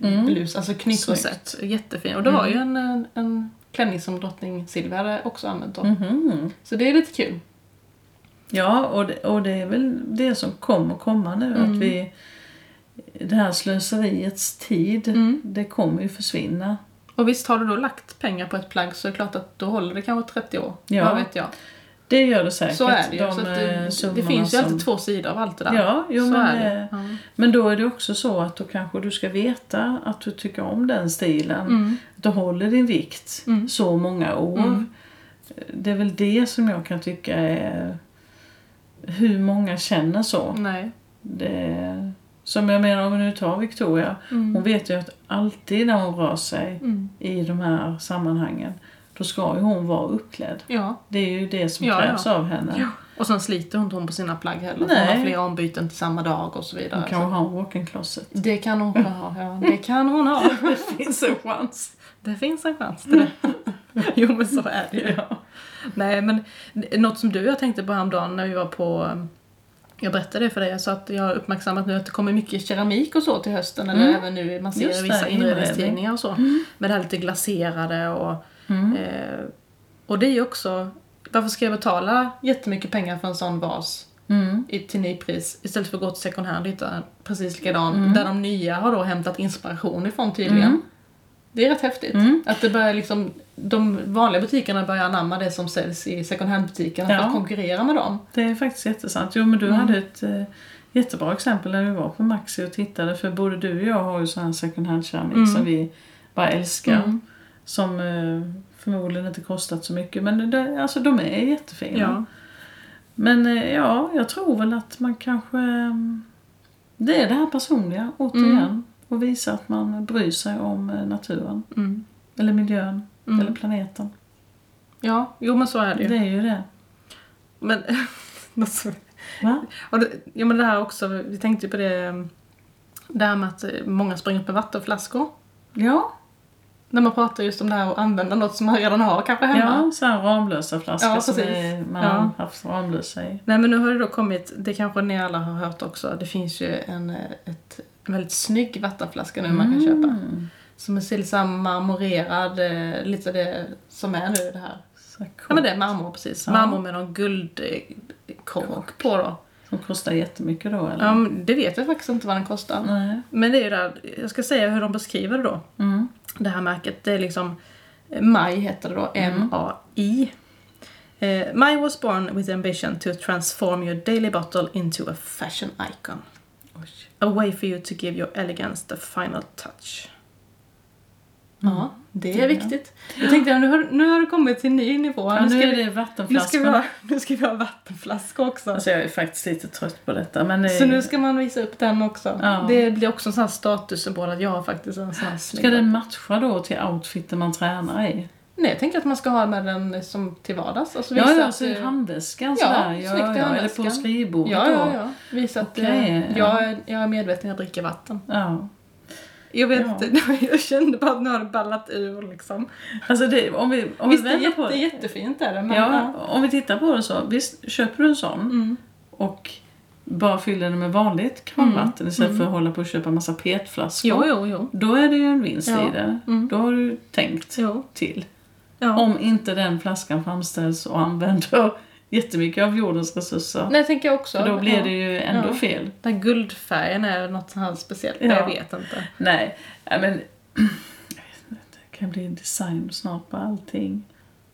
S2: Mm.
S1: blus, alltså knytrosett. Jättefin. Och det var ju en, en, en klänning som drottning Silvia hade också använt då.
S2: Mhm.
S1: Så det är lite kul.
S2: Ja, och det, och det är väl det som kommer komma nu.
S1: Mm.
S2: Att vi, det här slöseriets tid,
S1: Mm.
S2: det kommer ju försvinna.
S1: Och visst, har du då lagt pengar på ett plagg så är det klart att då håller det kanske 30 år.
S2: Ja.
S1: Vad vet jag.
S2: Det gör det säkert.
S1: Så är det ju.
S2: de,
S1: så att
S2: eh,
S1: det, det
S2: summorna
S1: finns ju
S2: som-
S1: alltid två sidor av allt det där.
S2: Ja, jo,
S1: så
S2: men,
S1: är det.
S2: eh,
S1: Ja.
S2: men då är det också så att då kanske du ska veta att du tycker om den stilen.
S1: Mm.
S2: Att du håller din vikt så många år. Det är väl det som jag kan tycka är hur många känner så.
S1: Nej.
S2: Det, som jag menar om vi nu tar Victoria. Hon vet ju att alltid när hon rör sig i de här sammanhangen då ska ju hon vara uppklädd.
S1: Ja.
S2: Det är ju det som
S1: Ja,
S2: krävs
S1: ja.
S2: av henne.
S1: Och sen sliter hon inte hon på sina plagg heller.
S2: Nej.
S1: Hon har flera ombyten till samma dag och så vidare.
S2: Hon
S1: Så
S2: kan ha en walk-in closet.
S1: Det kan hon ha, ja. Det kan hon ha.
S2: (laughs) Det finns en chans.
S1: Det finns en chans till det. jo men så är det ju.
S2: Ja.
S1: Nej men något som du jag tänkte på häromdagen när vi var på eh, jag berättade det för dig, jag sa att jag har uppmärksammat nu att det kommer mycket keramik och så till hösten, eller även nu, man ser
S2: Just
S1: i
S2: det,
S1: vissa
S2: inredning.
S1: inredningstidningar och så. Med det här lite glaserade och... Eh, och det är ju också, varför ska jag betala jättemycket pengar för en sån vas
S2: Mm.
S1: i, till nypris istället för att gå till second hand och hitta en precis likadan.
S2: Mm.
S1: Där de nya har då hämtat inspiration ifrån tydligen. Det är rätt häftigt.
S2: Mm.
S1: Att det börjar liksom, de vanliga butikerna börjar anamma det som säljs i second hand-butikerna för
S2: Ja.
S1: att konkurrera med dem.
S2: Det är faktiskt jättesant. Jo men du hade ett eh, jättebra exempel när vi var på Maxi och tittade. För både du och jag har ju sån här second hand keramik som vi bara älskar. Som eh, förmodligen inte kostat så mycket. Men det, alltså de är jättefina. Men eh, ja, jag tror väl att man kanske... eh, Det är det här personliga återigen. Och visa att man bryr sig om eh, naturen.
S1: Mm.
S2: Eller miljön.
S1: Mm.
S2: Eller planeten.
S1: Ja, jo men så är det ju.
S2: Det är ju det.
S1: Men, (laughs) något som-
S2: Va?
S1: och det, ja, men det här också, vi tänkte ju på det eh, Det här med att eh, många springer upp med vattenflaskor.
S2: Ja,
S1: När man pratar just om det här att använda något som man redan har kanske hemma.
S2: ja så här Ramlösa flaskor
S1: Ja,
S2: som
S1: precis.
S2: är, man
S1: Ja.
S2: har haft Ramlösa i.
S1: Nej men nu har det då kommit, det kanske ni alla har hört också, det finns ju en, eh, ett, en väldigt snygg vattenflaska nu man kan köpa.
S2: Mm.
S1: Som är till samma marmorerad, eh, lite det som är nu det här.
S2: Så här cool.
S1: Ja men det är marmor precis.
S2: Ja.
S1: Marmor med någon guldkork på då.
S2: Som kostar jättemycket då eller?
S1: Ja, men det vet jag faktiskt inte vad den kostar.
S2: Nej.
S1: Men det är ju där, jag ska säga hur de beskriver det då.
S2: Mm.
S1: Det här märket, det är liksom MAI heter det då, M-A-I. Eh, MAI was born with the ambition to transform your daily bottle into a fashion icon.
S2: Oj.
S1: A way for you to give your elegance the final touch. Mm. Ja, det
S2: Det
S1: är
S2: är
S1: viktigt. Jag tänkte, nu har, nu har du kommit till en ny nivå.
S2: Ja,
S1: nu,
S2: nu
S1: ska
S2: är
S1: vi,
S2: det
S1: nu, ska vi ha,
S2: vattenflaskorna.
S1: nu ska vi ha vattenflaska också.
S2: Alltså jag är faktiskt lite trött på detta men eh, det är-
S1: Så nu ska man visa upp den också.
S2: Ja.
S1: Det blir också en sån här statussymbol att jag har faktiskt en sån här snygg.
S2: ska den matcha då till outfiten man tränar i?
S1: Nej, jag tänker att man ska ha med den som till vardags. Alltså visa
S2: Ja, ja,
S1: att,
S2: så i
S1: eh,
S2: handväskan
S1: Ja,
S2: sådär.
S1: snyggt i
S2: Ja, ja. Eller
S1: handväskan.
S2: på skrivbordet
S1: ja, ja,
S2: då.
S1: ja. Visa att eh,
S2: Okej, ja.
S1: jag, är, jag är medveten, jag dricker vatten.
S2: Ja.
S1: Jag vet
S2: Ja.
S1: inte, (laughs) jag kände bara att nu har det ballat ur liksom.
S2: Alltså det, om vi, om
S1: Visst,
S2: vi
S1: det är
S2: vänder
S1: jätte,
S2: på det.
S1: jättefint är det, men...
S2: Ja, om vi tittar på det så. Visst, köper du en sån
S1: Mm.
S2: och bara fyller den med vanligt kranvatten istället för att hålla på och köpa massa petflaskor.
S1: Jo, jo, Mm. jo.
S2: Då är det ju en vinst
S1: Ja.
S2: i det.
S1: Mm.
S2: Då har du tänkt
S1: Jo.
S2: till.
S1: Ja.
S2: Om inte den flaskan framställs och använder (laughs) jättemycket av jordens resurser.
S1: Nej, tänker jag också.
S2: För då blir
S1: Ja.
S2: det ju ändå
S1: Ja.
S2: fel.
S1: Den här guldfärgen är något så här speciellt,
S2: Ja.
S1: jag vet inte.
S2: Nej, nej, men... (clears throat) jag vet inte, Det kan bli design snart på allting.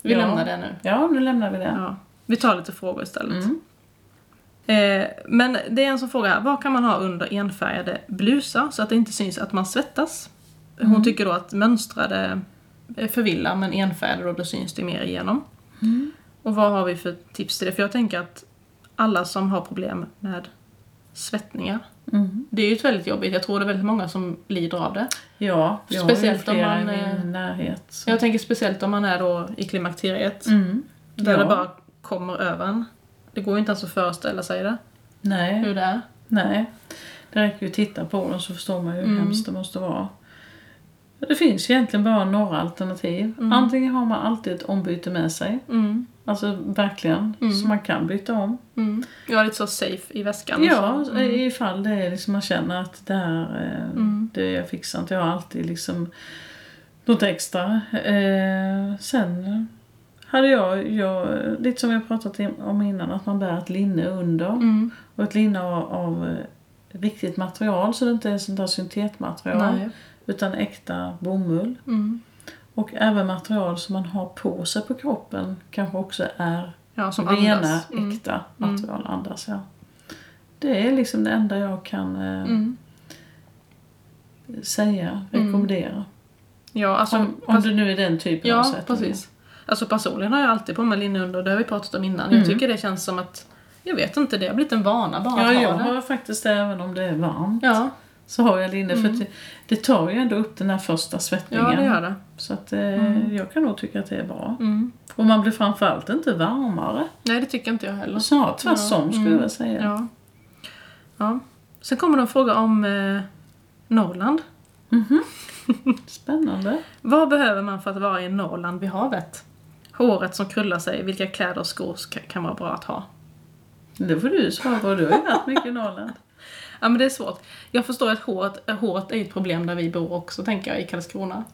S1: Vi
S2: Ja.
S1: lämnar det nu.
S2: Ja, nu lämnar vi det.
S1: Ja. Vi tar lite frågor istället.
S2: Mm.
S1: Eh, men det är en som frågar, vad kan man ha under enfärgade blusar så att det inte syns att man svettas? Hon
S2: Mm.
S1: tycker då att mönstrade eh, förvillar men enfärgade då, då syns det mer igenom.
S2: Mm.
S1: Och vad har vi för tips till det? För jag tänker att alla som har problem med svettningar,
S2: Mm.
S1: det är ju ett väldigt jobbigt. Jag tror det är väldigt många som lider av det.
S2: Ja, jag
S1: Speciellt
S2: har ju flera
S1: om man,
S2: i
S1: eh,
S2: min närhet. så-
S1: Jag tänker speciellt om man är då i klimakteriet,
S2: Mm.
S1: där
S2: ja.
S1: det bara kommer över en. Det går ju inte ens att föreställa sig det,
S2: Nej,
S1: hur det är.
S2: nej. Det räcker ju att titta på dem så förstår man ju hur
S1: Mm.
S2: hemskt det måste vara. Det finns egentligen bara några alternativ.
S1: Mm.
S2: Antingen har man alltid ett ombyte med sig,
S1: Mm.
S2: alltså verkligen,
S1: Mm.
S2: så man kan byta om.
S1: Mm. Jag är lite så safe i väskan.
S2: Ja,
S1: Så. Mm.
S2: ifall det är liksom man känner att det här, eh,
S1: Mm.
S2: det jag fixar inte. Jag har alltid liksom något extra. Eh, sen hade jag, jag, lite som jag pratat i- om innan, att man bär ett linne under.
S1: Mm.
S2: Och ett linne av, av eh, riktigt material så det inte är sånt där syntetmaterial.
S1: Nej.
S2: Utan äkta bomull.
S1: Mm.
S2: Och även material som man har på sig på kroppen kanske också är
S1: Ja, som
S2: rena,
S1: andas. Mm.
S2: äkta
S1: Mm.
S2: material. Andas, ja. Det är liksom det enda jag kan eh,
S1: Mm.
S2: säga,
S1: Mm.
S2: rekommendera.
S1: Ja, alltså,
S2: om om det nu är den typen av
S1: ja
S2: sättningar.
S1: precis. Alltså personligen har jag alltid på mig linne under, det har vi pratat om innan. Jag
S2: Mm.
S1: tycker det känns som att, jag vet inte, det har blivit en vana bara
S2: Ja,
S1: att
S2: jag
S1: ha det.
S2: har faktiskt det även om det är varmt.
S1: Ja,
S2: Så har jag linne för
S1: Mm.
S2: att det, det tar ju ändå upp den här första svettningen.
S1: ja, det gör det.
S2: Så att, eh,
S1: Mm.
S2: jag kan nog tycka att det är bra.
S1: Mm.
S2: Och man blir framförallt inte varmare.
S1: Nej, det tycker inte jag heller.
S2: Snarare tvärtom
S1: Ja.
S2: skulle
S1: Mm.
S2: jag vilja säga.
S1: Ja. ja. Sen kommer de fråga om eh, Norrland.
S2: Spännande.
S1: Vad behöver man för att vara i Norrland vid havet? Håret som krullar sig, vilka kläder och skor ska, kan vara bra att ha?
S2: Det får du svara på. Du har ju varit mycket i Norrland.
S1: Ja men det är svårt. Jag förstår att håret, håret är ett problem där vi bor också, tänker jag, i Karlskrona.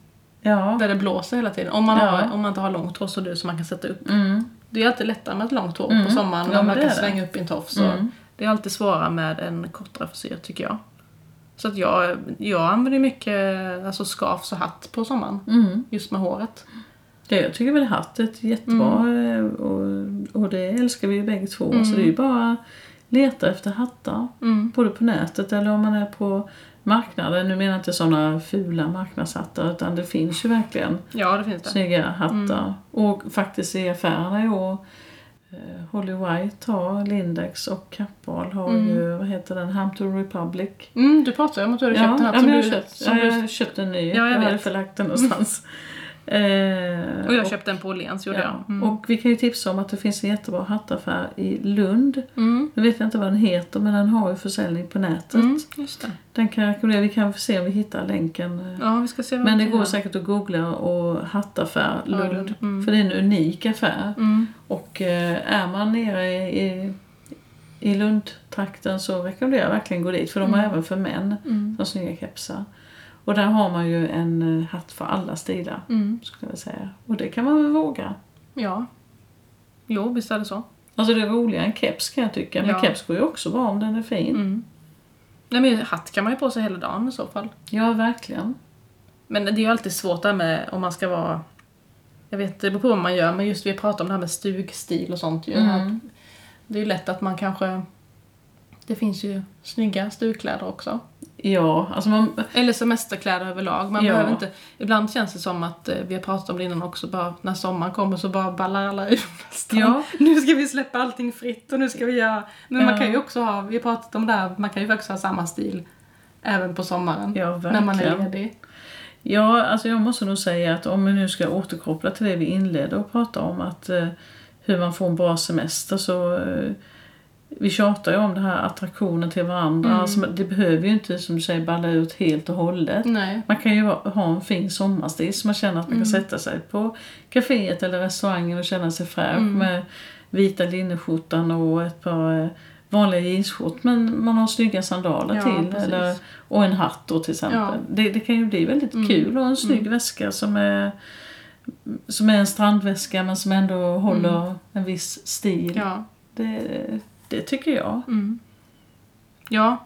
S2: Ja.
S1: Där det blåser hela tiden. Om man,
S2: Ja.
S1: har, om man inte har långt hår så du som man kan sätta upp.
S2: Mm.
S1: Det är alltid lättare med ett långt hår
S2: Mm.
S1: på sommaren
S2: Ja,
S1: när
S2: men
S1: man
S2: det
S1: kan
S2: är det.
S1: svänga upp i en tofs. och-
S2: Mm.
S1: Det är alltid svårare med en kortare frisyr tycker jag. Så att jag, jag använder mycket alltså scarf och hatt på sommaren.
S2: Mm.
S1: Just med håret.
S2: Ja, jag tycker väl hatt är ett jättebra eh,
S1: Mm.
S2: och, och det älskar vi ju bägge två. Så det är ju bara att leta efter hattar.
S1: Mm.
S2: Både på nätet eller om man är på marknaden. Nu menar jag inte sådana fula marknadshattar utan det finns ju verkligen
S1: Ja, Mm. det finns det.
S2: snygga hattar. Och faktiskt i affärerna i år eh, Holly White har Lindex och Kappahl har ju, vad heter den, Hampton Republic.
S1: Mm, du pratade ju om att du hade
S2: Ja,
S1: köpt en hatt
S2: ja,
S1: som
S2: men jag
S1: du...
S2: har köpt,
S1: som
S2: ja, jag
S1: du
S2: har köpt en ny.
S1: Ja, jag
S2: jag hade
S1: vet.
S2: förlagt den någonstans. Eh,
S1: Och jag köpte en på Åhléns, gjorde
S2: ja.
S1: jag. Mm.
S2: Och vi kan ju tipsa om att det finns en jättebra hattaffär i Lund.
S1: Mm.
S2: Nu vet jag inte vad den heter men den har ju försäljning på nätet.
S1: Mm, just det.
S2: Den kan jag rekommendera. Vi kan se om vi hittar länken. eh,
S1: Ja, vi ska se vad
S2: Men
S1: vi
S2: det
S1: kan
S2: går
S1: göra.
S2: säkert att googla och hattaffär
S1: Ja,
S2: Lund.
S1: Lund. Mm.
S2: För det är en unik affär.
S1: Mm.
S2: Och eh, är man nere i, i Lundtrakten så rekommenderar jag verkligen gå dit. För de har även för män
S1: Mm.
S2: de snygga kepsar. Och där har man ju en eh, hatt för alla stilar.
S1: Mm.
S2: Skulle jag säga. Och det kan man väl våga.
S1: Ja. Jo, visst är det så.
S2: Alltså det är roligare än keps kan jag tycka. Men
S1: Ja.
S2: keps går ju också bra om den är fin.
S1: Mm. Nej men hatt kan man ju på sig hela dagen i så fall.
S2: Ja, verkligen.
S1: Men det är ju alltid svårt där med om man ska vara... Jag vet, det beror på vad man gör, men just vi pratar om det här med stugstil och sånt ju.
S2: Mm.
S1: Det är ju lätt att man kanske... Det finns ju snygga stugkläder också.
S2: Ja, alltså man...
S1: Eller semesterkläder överlag. Man
S2: Ja.
S1: behöver inte... Ibland känns det som att, eh, vi har pratat om det innan också, bara när sommaren kommer så bara ballar alla ur (laughs) nästan.
S2: Ja.
S1: Nu ska vi släppa allting fritt och nu ska vi göra... Men man
S2: Ja.
S1: kan ju också ha, vi har pratat om det här, man kan ju faktiskt ha samma stil även på sommaren.
S2: Ja,
S1: när
S2: verkligen.
S1: man är ledig.
S2: Ja, alltså jag måste nog säga att om vi nu ska återkoppla till det vi inledde och prata om att eh, hur man får en bra semester så eh, vi tjatar ju om det här attraktionen till varandra.
S1: Mm.
S2: Alltså, det behöver ju inte som du säger balla ut helt och hållet.
S1: Nej.
S2: Man kan ju ha ha en fin sommarstil så man känner att man kan
S1: Mm.
S2: sätta sig på kaféet eller restaurangen och känna sig fräsch
S1: Mm.
S2: med vita linneskjortan och ett par eh, vanliga jeansskjortor men man har snygga sandaler
S1: Ja,
S2: till
S1: precis.
S2: eller, och en hatt då till exempel.
S1: Ja. Mm.
S2: Det, det kan ju bli väldigt kul och en snygg väska som är, som är en strandväska men som ändå håller en viss stil.
S1: Mm. Ja.
S2: Det, det tycker jag.
S1: Mm. Ja.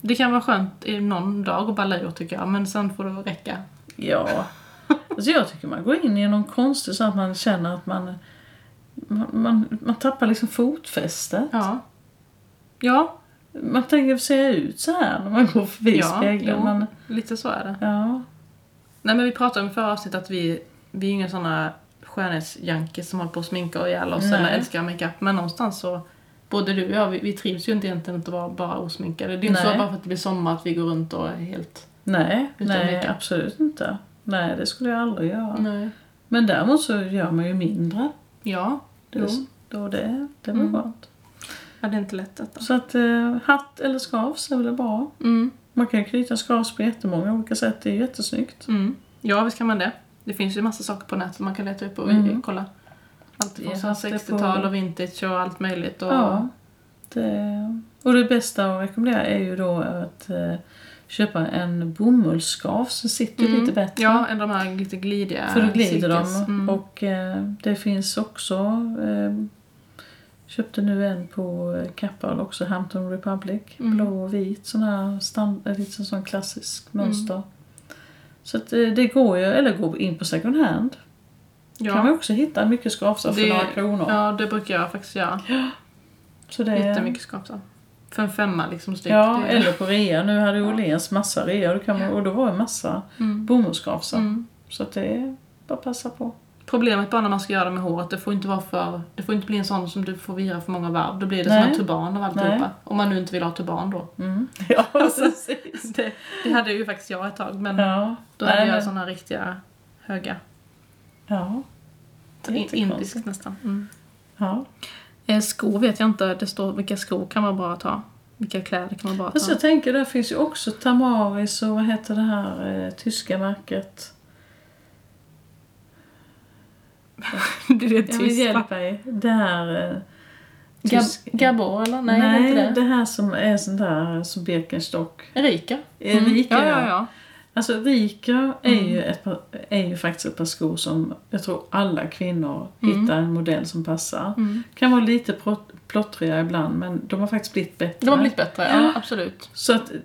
S1: Det kan vara skönt i någon dag att balla ur tycker jag, men sen får det räcka.
S2: Ja. Alltså jag tycker man går in i någon konstig så att man känner att man man, man, man tappar liksom fotfästet.
S1: Ja. Ja,
S2: Man tänker, ser jag ut så här när man går förbi
S1: ja
S2: spegeln?
S1: jo,
S2: Man,
S1: lite så är det.
S2: ja.
S1: Nej men vi pratade om i förra avsnittet att vi, vi är inga sådana skönhetsjunkies som håller på att sminka och ihjäl oss
S2: Nej.
S1: eller älskar makeup. Men någonstans så, både du och jag, vi, vi trivs ju inte egentligen att vara bara osminkade. Det är ju inte så
S2: Nej.
S1: bara för att det blir sommar att vi går runt och är helt...
S2: Nej,
S1: Utan
S2: nej
S1: makeup.
S2: absolut inte. Nej, det skulle jag aldrig göra.
S1: Nej.
S2: Men däremot så gör man ju mindre.
S1: Ja,
S2: Det,
S1: jo.
S2: Då det, det var
S1: Mm.
S2: skönt.
S1: Ja, det är inte lätt detta.
S2: Så att eh, hatt eller skavs är väl bra.
S1: Mm.
S2: Man kan ju knyta skavs på jättemånga olika sätt. Det är jättesnyggt.
S1: Mm. Ja, visst kan man det. Det finns ju massa saker på nätet man kan leta upp och
S2: Mm.
S1: kolla. Allt
S2: Vi
S1: från
S2: har
S1: så här
S2: haft det på-
S1: 60-tal och vintage och allt möjligt. Och...
S2: Ja. Det, och det bästa att rekommendera är ju då att eh, köpa en bomullsskavs som sitter
S1: Mm.
S2: lite bättre.
S1: Ja, än de här lite glidiga
S2: För då glider de.
S1: silkes. Mm.
S2: Och eh, det finns också, eh, köpte nu en på eh, Kappahl också, Hampton Republic.
S1: Mm.
S2: Blå och vit, sån här stand, eh, lite sån klassisk mönster. Så att eh, det går ju, eller gå in på second hand. kan
S1: ja.
S2: man också hitta mycket skavsar för
S1: Det-
S2: några kronor.
S1: ja, det brukar jag faktiskt göra.
S2: Så det,
S1: Jättemycket skapsam. För en femma liksom styck.
S2: Ja,
S1: det är-
S2: eller på rea. Nu hade Åhléns massa rea och då, kan man, och då var det massa
S1: Mm.
S2: bomullsskavsar.
S1: Mm.
S2: Så att det är bara att passa på.
S1: Problemet bara när man ska göra det med håret, det får inte vara för... Det får inte bli en sån som du får vira för många varv. Då blir det som
S2: Nej.
S1: en turban av alltihopa.
S2: Nej.
S1: Om man nu inte vill ha turban då.
S2: (laughs) Ja, precis.
S1: (laughs) Det, det hade ju faktiskt jag ett tag, men
S2: Ja.
S1: då hade
S2: Nej,
S1: jag
S2: men-
S1: såna riktiga höga.
S2: Ja. Det är
S1: In-
S2: inte konstigt.
S1: Indiskt nästan. Mm.
S2: ja.
S1: Eh, skor vet jag inte, det står vilka skor kan man bara ta. Vilka kläder kan man bara ta.
S2: Fast jag tänker, där finns ju också Tamaris och vad heter det här eh, tyska märket?
S1: (laughs) det är
S2: Jag vill hjälpa mig. Det här... Eh, tysk-
S1: Gab- Gabor eller? Nej, det är inte
S2: det här som är sånt där eh, som Birkenstock.
S1: det. Erika?
S2: Mm. Rika,
S1: Ja, ja, ja.
S2: Alltså Rika är, ju
S1: Mm.
S2: ett par, är ju faktiskt ett par skor som jag tror alla kvinnor hittar en modell som passar.
S1: Mm.
S2: Kan vara lite prott- plottriga ibland men de har faktiskt blivit bättre.
S1: De har blivit bättre, ja absolut.
S2: Så att eh,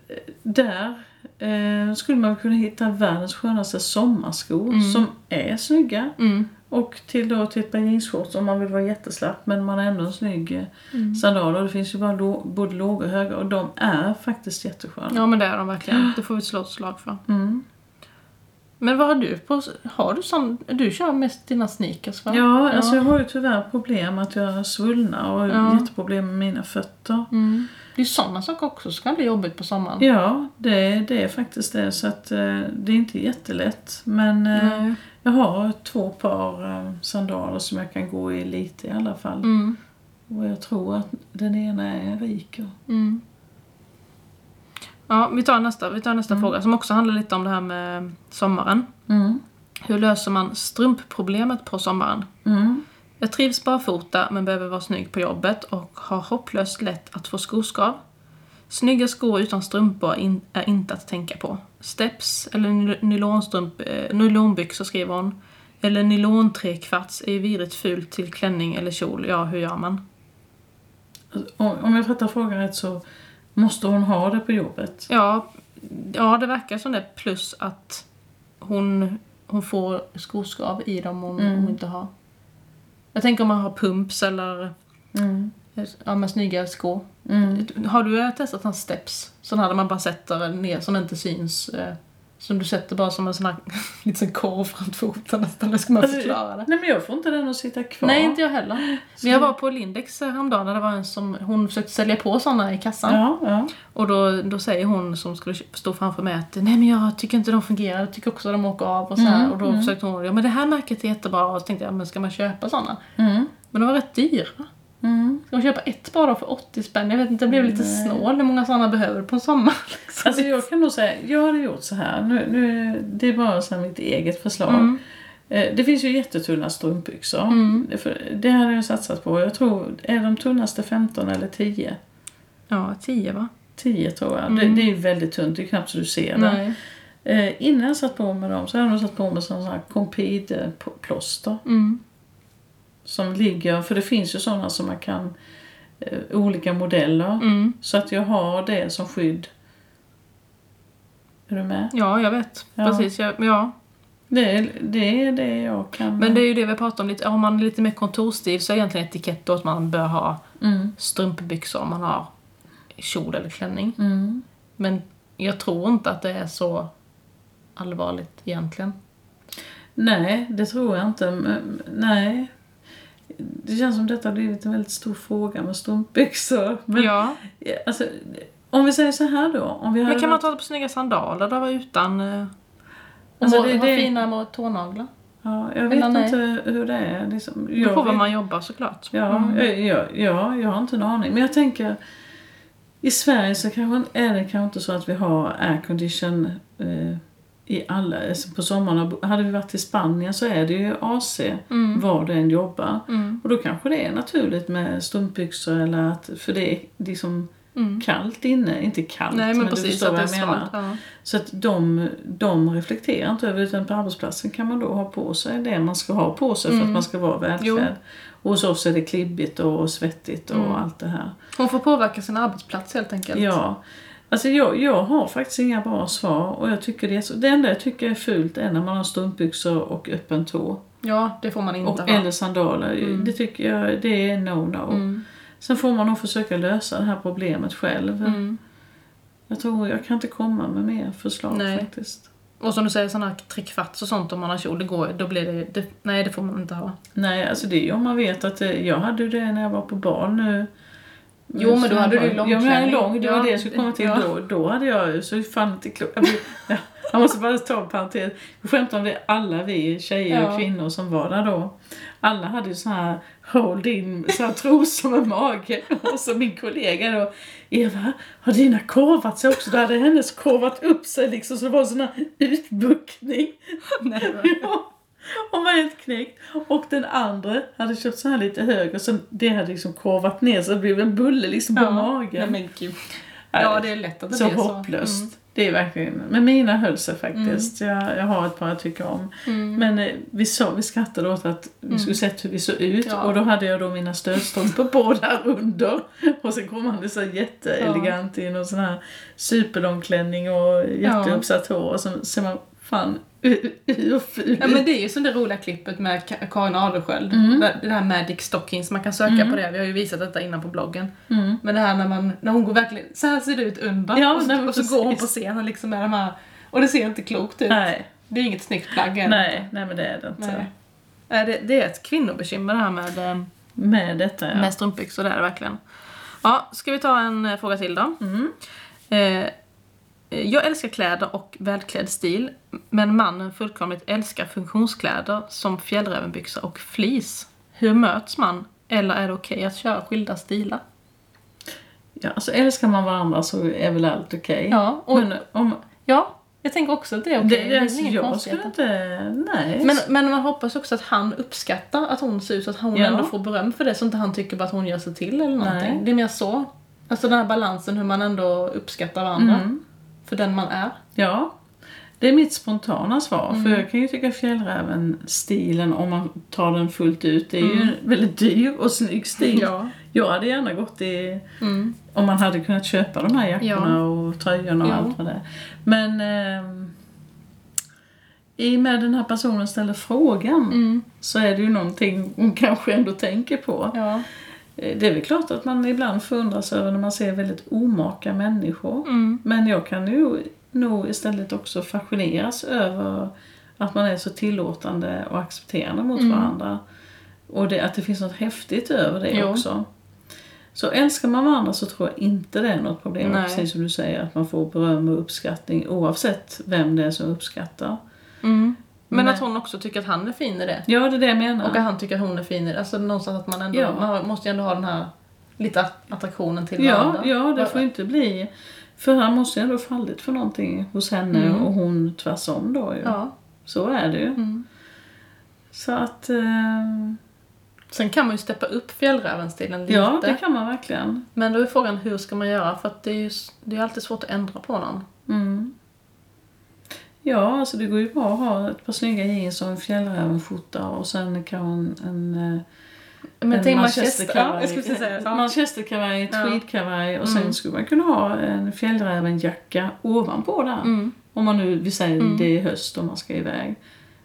S2: där eh, skulle man kunna hitta världens skönaste sommarskor som är snygga.
S1: Mm.
S2: Och till då till ett par jeansshorts om man vill vara jätteslapp men man har ändå en snygg eh,
S1: Mm.
S2: sandal. Och det finns ju bara lå- både låga och höga och de är faktiskt jättesköna.
S1: Ja men det är de verkligen. Det får vi slå ett slag för.
S2: Mm.
S1: Men vad har du på... Har du sån... Du kör mest dina sneakers va?
S2: Ja, alltså jag har ju tyvärr problem att jag svullnar och
S1: Ja.
S2: jätteproblem med mina fötter.
S1: Mm. Det är sådana saker också som kan bli jobbigt på sommaren.
S2: Ja, det, det är faktiskt det. Så att eh, det är inte jättelätt. Men eh,
S1: Nej.
S2: Jag har två par eh, sandaler som jag kan gå i lite i alla fall.
S1: Mm.
S2: Och jag tror att den ena är Riker.
S1: Mm. Ja, vi tar nästa, vi tar nästa fråga som också handlar lite om det här med sommaren.
S2: Mm.
S1: Hur löser man strumpproblemet på sommaren?
S2: Mm.
S1: Jag trivs barfota men behöver vara snygg på jobbet och har hopplöst lätt att få skoskav. Snygga skor utan strumpor är in- är inte att tänka på. Steps eller ny- nylonstrump, eh, nylonbyxor skriver hon. Eller nylontrekvarts är ju vidrigt fult till klänning eller kjol. Ja, hur gör man?
S2: Och Om jag fattar frågan rätt så måste hon ha det på jobbet.
S1: Ja, ja det verkar som det. Plus att hon, hon får skoskav i dem om hon inte har. Jag tänker om man har pumps eller
S2: Mm.
S1: ja, men snygga skor.
S2: Mm.
S1: Har du eh, testat hans steps? Sådana här där man bara sätter ner som inte syns. eh, Som du sätter bara som en sån här (laughs) liten korv framför foten nästan. Hur ska man
S2: Alltså,
S1: förklara det?
S2: Nej men jag får inte den att sitta kvar.
S1: Nej, inte jag heller. Men jag var på Lindex eh, häromdagen där det var en som, hon försökte sälja på sådana i kassan.
S2: Ja, ja.
S1: Och då, då säger hon som skulle stå framför mig att nej men jag tycker inte de fungerar, jag tycker också de åker av och så här. och då försökte hon, ja men det här märket är jättebra och så tänkte jag, men ska man köpa sådana?
S2: Mm.
S1: Men de var rätt dyra.
S2: Mm.
S1: Ska man köpa ett par då för 80 spänn? Jag vet inte, jag blev lite snål hur många sådana behöver du på en sommar. Liksom.
S2: Alltså jag kan nog säga, jag hade gjort så här. Nu, nu, det är bara så här mitt eget förslag.
S1: Mm.
S2: Eh, Det finns ju jättetunna strumpbyxor. Det- för- Det hade jag satsat på. Jag tror, är de tunnaste 15 eller 10?
S1: Ja, 10 va?
S2: 10 tror jag. Det, det är ju väldigt tunt, det är knappt så du ser det.
S1: Mm. Nej.
S2: Eh, innan jag satt på mig dem så hade jag nog satt på mig sådana här Compede-plåster.
S1: Mm.
S2: Som ligger, för det finns ju sådana som man kan, eh, olika modeller.
S1: Mm.
S2: Så att jag har det som skydd. Är du med?
S1: Ja, jag vet.
S2: Ja.
S1: Precis, jag, ja.
S2: Det är det, är det jag kan...
S1: Men det är ju det vi pratar om lite, har man lite mer kontorsstil så är egentligen etikett då att man bör ha
S2: Mm.
S1: strumpbyxor om man har kjol eller klänning.
S2: Mm.
S1: Men jag tror inte att det är så allvarligt egentligen.
S2: Nej, det tror jag inte. Men, nej. Det känns som detta har blivit en väldigt stor fråga med strumpbyxor. Men,
S1: ja.
S2: alltså, om vi säger så här då. Om vi hade
S1: Men kan man
S2: varit-
S1: ta det på snygga sandaler då utan... eh, Och
S2: Alltså,
S1: må-
S2: det-
S1: ha
S2: det-
S1: fina må- tånaglar.
S2: ja, jag vet
S1: Eller nej.
S2: inte hur det är. Liksom,
S1: Det
S2: jag
S1: beror på var
S2: vet-
S1: man jobbar såklart.
S2: Ja,
S1: Mm.
S2: jag, jag, ja, jag har inte en aning. Men jag tänker, i Sverige så kanske, är det kanske inte så att vi har aircondition eh, i alla, alltså på sommaren. Hade vi varit i Spanien så är det ju AC var du än jobbar.
S1: Mm.
S2: Och då kanske det är naturligt med strumpbyxor eller att, för det är liksom kallt inne. Inte kallt,
S1: Mm. Nej men,
S2: men, du
S1: precis,
S2: förstår
S1: att
S2: vad
S1: det är
S2: jag menar.
S1: svalt. Ja.
S2: Så att de, de reflekterar inte över det, utan på arbetsplatsen kan man då ha på sig det man ska ha på sig
S1: Mm.
S2: för att man ska vara välklädd. Och hos oss är det klibbigt och svettigt och allt det här.
S1: Hon får påverka sin arbetsplats Mm. helt enkelt.
S2: Ja. Alltså jag, jag har faktiskt inga bra svar och jag tycker det, är så, det enda jag tycker är fult är när man har strumpbyxor och öppen tå.
S1: Ja, det får man inte Mm.
S2: Och,
S1: ha.
S2: eller sandaler. Det tycker jag det är no-no.
S1: Mm.
S2: Sen får man nog försöka lösa det här problemet själv.
S1: Mm.
S2: Jag tror jag kan inte komma med mer förslag
S1: Nej.
S2: faktiskt.
S1: Och som du säger, sådana här trekvarts och sånt om man har kjol, det går ju- då blir det, det Nej, det får man inte ha.
S2: Nej, alltså det är ju om man vet att det, jag hade ju det när jag var på barn nu.
S1: Jo, men då hade du ju
S2: Ja, men jag hade
S1: långklänning.
S2: lång, det var
S1: Ja,
S2: det jag skulle komma till.
S1: ja.
S2: Då, då hade jag ju så fan inte klokt. Jag, blir- (laughs) Ja, jag måste bara ta en parentes. Jag skämtar om det, alla vi tjejer och
S1: Ja.
S2: kvinnor som var där då. Alla hade ju såna här hold in, så här trosor med mage. Och så min kollega då, Eva, har dina korvat sig också? Då hade hennes korvat upp sig liksom så det var sån här utbuktning.
S1: (laughs) Nej, va?
S2: Ja, (laughs) hon var helt knäckt. Och den andra hade köpt så här lite högre så det hade liksom korvat ner så det blev en bulle liksom på
S1: Ja. Nej,
S2: magen.
S1: men gud. Ja, det är lätt att det
S2: så
S1: blir så.
S2: hopplöst. Det är verkligen, men mina höll sig faktiskt.
S1: Mm.
S2: Jag, jag har ett par jag tycker om. Men eh, vi, sa, vi skrattade åt att vi skulle sett hur vi såg ut
S1: Mm. Ja.
S2: och då hade jag då mina (laughs) stödstrumpor på där under. Och sen kom han ju så här jätteelegant in och sån här superlång klänning och jätteuppsatt hår och så ser man fan hur hur ful
S1: Ja men det är ju som det roliga klippet med Ka- Karin Adelsköld.
S2: Mm.
S1: Det det här Magic Stockings, man kan söka på det. Vi har ju visat detta innan på bloggen. Men det här när, man, när hon går verkligen, så här ser det ut under.
S2: Mm. Ja,
S1: och,
S2: nej,
S1: så,
S2: men
S1: och så går hon på
S2: precis.
S1: scenen liksom med de här, och det ser inte klokt ut.
S2: Nej,
S1: Det är inget snyggt plagg än.
S2: nej, nej men det är det inte.
S1: Nej. Nej, Det, det är ett kvinnobekymmer det här med, eh,
S2: Med detta ja.
S1: med Mm. strumpbyxor, det är det verkligen. Ja, ska vi ta en eh, fråga till då? Eh, eh, jag älskar kläder och välklädd stil, men mannen fullkomligt älskar funktionskläder som fjällrävenbyxor och fleece. Hur möts man? Eller är det okej att köra skilda stilar?
S2: Ja, alltså älskar man varandra så är väl allt okej.
S1: Ja, och,
S2: Men om,
S1: ja, jag tänker också att det är okej.
S2: det,
S1: Det är
S2: alltså,
S1: inga
S2: jag skulle
S1: konstigheter.
S2: inte... Nej.
S1: Men, men man hoppas också att han uppskattar att hon ser ut så att hon
S2: Ja.
S1: ändå får beröm för det så inte han tycker bara att hon gör sig till eller någonting.
S2: Nej.
S1: Det är mer så. Alltså den här balansen hur man ändå uppskattar varandra. För den man är.
S2: Ja, det är mitt spontana svar.
S1: Mm.
S2: För jag kan ju tycka fjällräven-stilen, om man tar den fullt ut, det är ju en väldigt dyr och snygg stil.
S1: Mm. Ja. Mm.
S2: Jag hade gärna gått i... Om man hade kunnat köpa de här jackorna
S1: Ja.
S2: och tröjorna och
S1: Ja.
S2: allt vad det är. Men... ehm, i och med den här personen ställer frågan
S1: Mm.
S2: så är det ju någonting hon kanske ändå tänker på.
S1: Ja.
S2: Eh, Det är väl klart att man ibland förundras över när man ser väldigt omaka människor.
S1: Mm.
S2: Men jag kan ju nog istället också fascineras över att man är så tillåtande och accepterande mot
S1: Mm.
S2: varandra. Och det, att det finns något häftigt över det
S1: Jo.
S2: också. Så älskar man varandra så tror jag inte det är något problem.
S1: Nej.
S2: Precis som du säger, att man får beröm och uppskattning oavsett vem det är som uppskattar.
S1: Mm. Men att hon också tycker att han är fin i det.
S2: Ja, det är det jag menar.
S1: Och att han tycker att hon är fin i det. Alltså någonstans att man ändå,
S2: Ja.
S1: man har- måste ju ändå ha den här lite att- attraktionen till
S2: Ja,
S1: varandra.
S2: ja, det får ju inte bli... För han måste ju ändå ha fallit för någonting hos henne och hon tvärsom då ju.
S1: Mm. Ja. Mm.
S2: Så är det ju. Så att... Eh,
S1: Sen kan man ju steppa upp fjällrävenstilen lite.
S2: ja, det kan man verkligen.
S1: Men då är frågan hur ska man göra? För att det är ju s- det är alltid svårt att ändra på någon.
S2: Mm. Ja, alltså det går ju bra att ha ett par snygga jeans och en fjällrävenskjorta och sen kan hon en, eh,
S1: Men
S2: en
S1: tänk
S2: manchesterkavaj.
S1: Ja, jag skulle precis säga
S2: en
S1: ja.
S2: manchesterkavaj, ett
S1: Ja. Mm.
S2: tweedkavaj och sen skulle man kunna ha en fjällrävenjacka ovanpå där.
S1: Mm.
S2: Om man nu, vi säger det är höst och man ska iväg.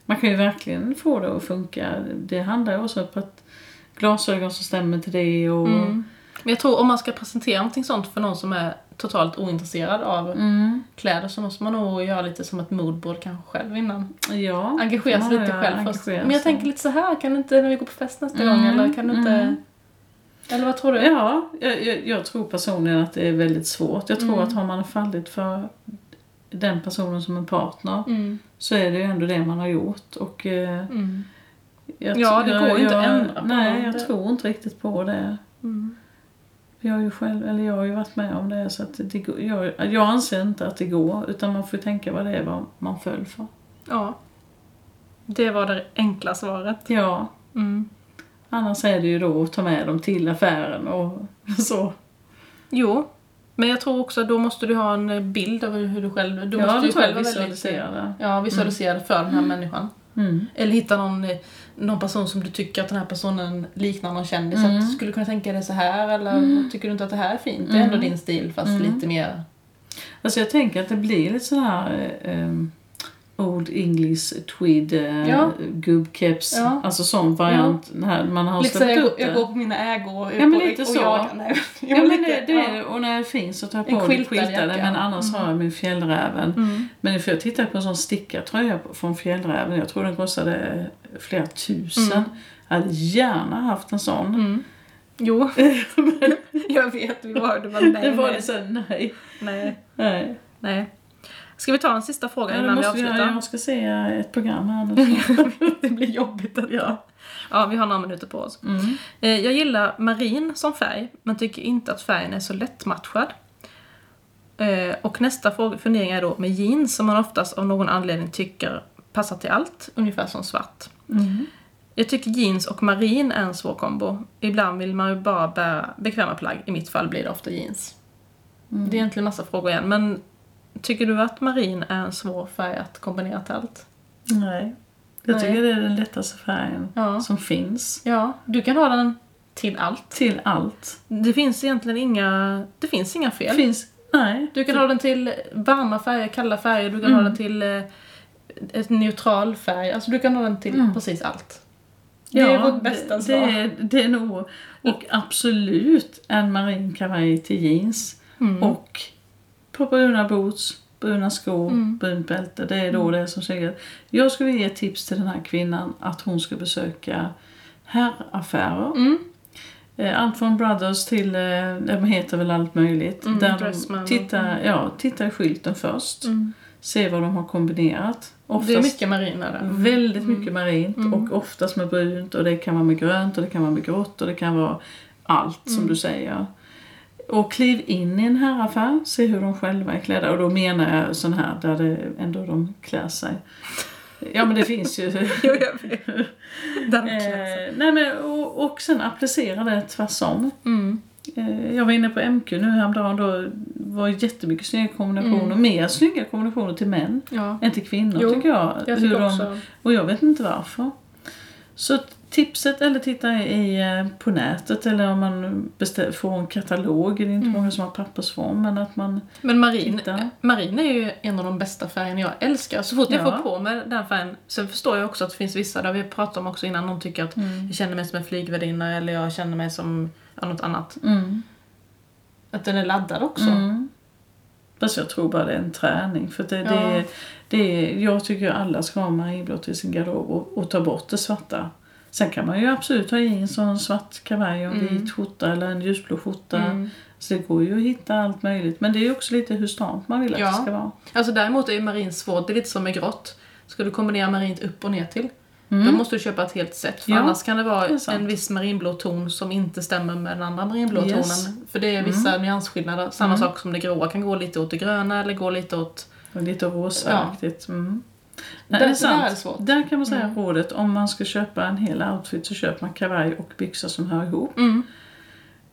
S2: Man kan ju verkligen få det att funka. Det handlar ju också om att glasögon som stämmer till det och...
S1: Mm. Men jag tror om man ska presentera någonting sånt för någon som är totalt ointresserad av
S2: Mm.
S1: kläder så måste man nog göra lite som ett moodboard kanske själv innan.
S2: Ja.
S1: Engagera sig
S2: Ja,
S1: lite
S2: ja,
S1: själv först.
S2: engagera
S1: Men jag
S2: sig.
S1: tänker lite så här, kan du inte när vi går på fest nästa gång eller kan du inte... Eller vad tror du?
S2: Ja, jag, jag, jag tror personligen att det är väldigt svårt. Jag tror
S1: Mm.
S2: att har man fallit för den personen som en partner
S1: Mm.
S2: så är det ju ändå det man har gjort. Och, eh,
S1: Mm.
S2: jag,
S1: Ja, det
S2: jag-
S1: går ju inte
S2: jag,
S1: att ändra på
S2: Nej,
S1: någon.
S2: jag
S1: Det-
S2: tror inte riktigt på det.
S1: Mm.
S2: Jag har ju själv, eller jag har ju varit med om det så att det, går- jag, jag anser inte att det går utan man får tänka vad det är vad man föll för.
S1: Ja. Det var det enkla svaret.
S2: Ja,
S1: Mm.
S2: annars är det ju då att ta med dem till affären och (laughs) så.
S1: Jo. Men jag tror också att då måste du ha en bild över hur du själv... Du
S2: ja,
S1: måste
S2: det
S1: ju
S2: tror jag
S1: själv vara väldigt...
S2: visualisera det.
S1: Ja, visualisera det för den här människan.
S2: Mm.
S1: Eller hitta någon, eh, någon person som du tycker att den här personen liknar någon kändis.
S2: Mm.
S1: Att, skulle du kunna tänka dig så här eller tycker du inte att det här är fint? Det är
S2: Mm.
S1: ändå din stil fast lite mer...
S2: Alltså jag tänker att det blir lite sån här eh, eh, Old English tweed eh,
S1: Ja.
S2: gubbkeps,
S1: Ja.
S2: alltså sån variant när man har
S1: Lite så här,
S2: släppt
S1: jag,
S2: upp
S1: jag
S2: det.
S1: går på mina ägor
S2: Ja, men
S1: och-
S2: lite
S1: och
S2: så.
S1: Jag, nej,
S2: Ja, men det, det är
S1: ja.
S2: det. Och när det finns så tar jag
S1: En
S2: på mig
S1: skyltad
S2: skyltade
S1: jacka.
S2: men annars har jag min fjällräven.
S1: Mm.
S2: Men för jag tittade på en sån stickartröja på- från fjällräven. Jag tror den kostade flera tusen.
S1: Mm.
S2: Jag hade gärna haft en sån. (laughs)
S1: Jo, (laughs) jag vet. Vi var, det var nej.
S2: det var
S1: nej,
S2: det sen, nej.
S1: nej,
S2: nej.
S1: nej. Ska vi ta en sista fråga
S2: Ja, det
S1: innan vi
S2: måste vi göra.
S1: avslutar?
S2: Jag ska se ett program här nu.
S1: (laughs) det blir jobbigt att ja. ja, vi har några minuter på oss.
S2: Mm.
S1: Eh, Jag gillar marin som färg, men tycker inte att färgen är så lättmatchad. Eh, Och nästa fråga- fundering är då med jeans som man oftast av någon anledning tycker passar till allt, ungefär som svart.
S2: Mm.
S1: Jag tycker jeans och marin är en svår kombo. Ibland vill man ju bara bära bekväma plagg, i mitt fall blir det ofta jeans. Det är egentligen massa frågor igen, men tycker du att marin är en svår färg att kombinera till allt?
S2: Nej. Jag
S1: Nej.
S2: tycker det är den lättaste färgen
S1: Ja.
S2: som finns.
S1: Ja, du kan ha den till allt.
S2: Till allt.
S1: Det finns egentligen inga, det finns inga fel.
S2: Finns, nej.
S1: Du kan ha den till varma färger, kalla färger, du kan
S2: Mm.
S1: ha den till eh, ett neutral färg. Alltså du kan ha den till precis allt. Det är vårt bästa
S2: Mm. det,
S1: svar.
S2: det, är, det är nog, och absolut en marin kavaj till jeans
S1: Mm.
S2: och på bruna boots, bruna skor,
S1: Mm.
S2: brunt bälte. Det är då det är som snyggt. Jag skulle vilja ge
S1: Mm.
S2: tips till den här kvinnan att hon ska besöka herraffärer. eh, allt från Brothers till, eh, de heter väl allt möjligt.
S1: Mm,
S2: där de
S1: Dressman.
S2: tittar, ja, tittar i skylten först, ser vad de har kombinerat. Oftast,
S1: Mm. Det är mycket marina
S2: (laughs)
S1: där.
S2: Väldigt
S1: Mm.
S2: mycket marint och oftast med brunt och det kan vara med grönt och det kan vara med grått och det kan vara allt
S1: Mm.
S2: som du säger. Och kliv in i en herraffär, se hur de själva är klädda. Och då menar jag sån här där det ändå de klär sig. Ja men det
S1: (laughs)
S2: finns ju
S1: Jo, jag vet. Där de klär sig.
S2: Eh, nej men, och, och sen applicera det tvärsom.
S1: Mm.
S2: Eh, jag var inne på MQ nu häromdagen. Då var det jättemycket snygga kombinationer. Mer snygga kombinationer till män
S1: Ja.
S2: än till kvinnor
S1: Mm. Jo,
S2: tycker jag.
S1: Jag tycker
S2: de-
S1: också...
S2: och jag vet inte varför. Så att tipset, eller titta i, eh, på nätet eller om man bestä- får en katalog. Det är
S1: Mm.
S2: inte många som har pappersform men att man...
S1: Men marin,
S2: Titta.
S1: marin är ju en av de bästa färgerna jag älskar. Så fort jag
S2: Ja.
S1: får på mig den färgen. Sen förstår jag också att det finns vissa, där vi pratat om också innan, någon tycker att jag känner mig som en flygvärdinna eller jag känner mig som ja, något annat.
S2: Mm.
S1: Att den är laddad också.
S2: Mm. Fast jag tror bara det är en träning. För det,
S1: Ja.
S2: det, det, jag tycker ju alla ska ha marinblått i sin garderob och, och ta bort det svarta. Sen kan man ju absolut ha i en sån svart kavaj och en vit skjorta eller en ljusblå skjorta.
S1: Mm.
S2: Så det går ju att hitta allt möjligt. Men det är ju också lite hur stramt man vill att
S1: Ja.
S2: det ska vara.
S1: Alltså däremot är ju marin svårt, det är lite som med grått. Ska du kombinera marint upp och ner till då måste du köpa ett helt set. För
S2: Ja,
S1: annars kan Mm. det vara
S2: det är sant.
S1: en viss marinblå ton som inte stämmer med den andra marinblå
S2: Yes.
S1: tonen. För det är vissa nyansskillnader. Samma sak som det gråa kan gå lite åt det gröna eller gå lite åt...
S2: Och lite rosaaktigt. Mm. Nej,
S1: Där-
S2: det är sant.
S1: där är det svårt. Mm.
S2: Där kan man säga rådet. Om man ska köpa en hel outfit så köper man kavaj och byxor som hör ihop.
S1: Mm.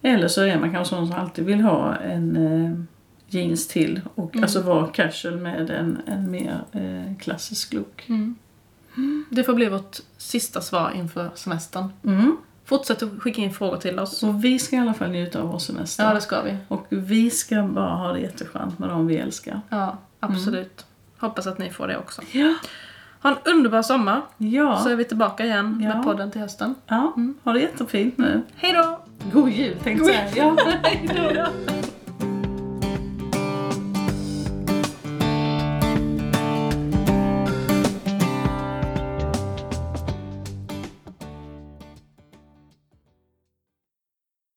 S2: Eller så är man kanske sån som alltid vill ha en eh, jeans till och
S1: Mm.
S2: alltså vara casual med en, en mer eh, klassisk look.
S1: Mm. Det får bli vårt sista svar inför semestern.
S2: Mm.
S1: Fortsätt att skicka in frågor till oss.
S2: Så vi ska i alla fall njuta av vår semester.
S1: Ja, det ska vi.
S2: Och vi ska bara ha det jätteskönt med dem vi älskar.
S1: Ja, absolut. Hoppas att ni får det också.
S2: Ja,
S1: Ha en underbar sommar, så Mm.
S2: ja.
S1: är vi tillbaka igen
S2: Ja.
S1: med podden till hösten.
S2: ja. ha det jättefint nu.
S1: Hej då!
S2: God jul tänkte jag säga. Ja.
S1: Hej då!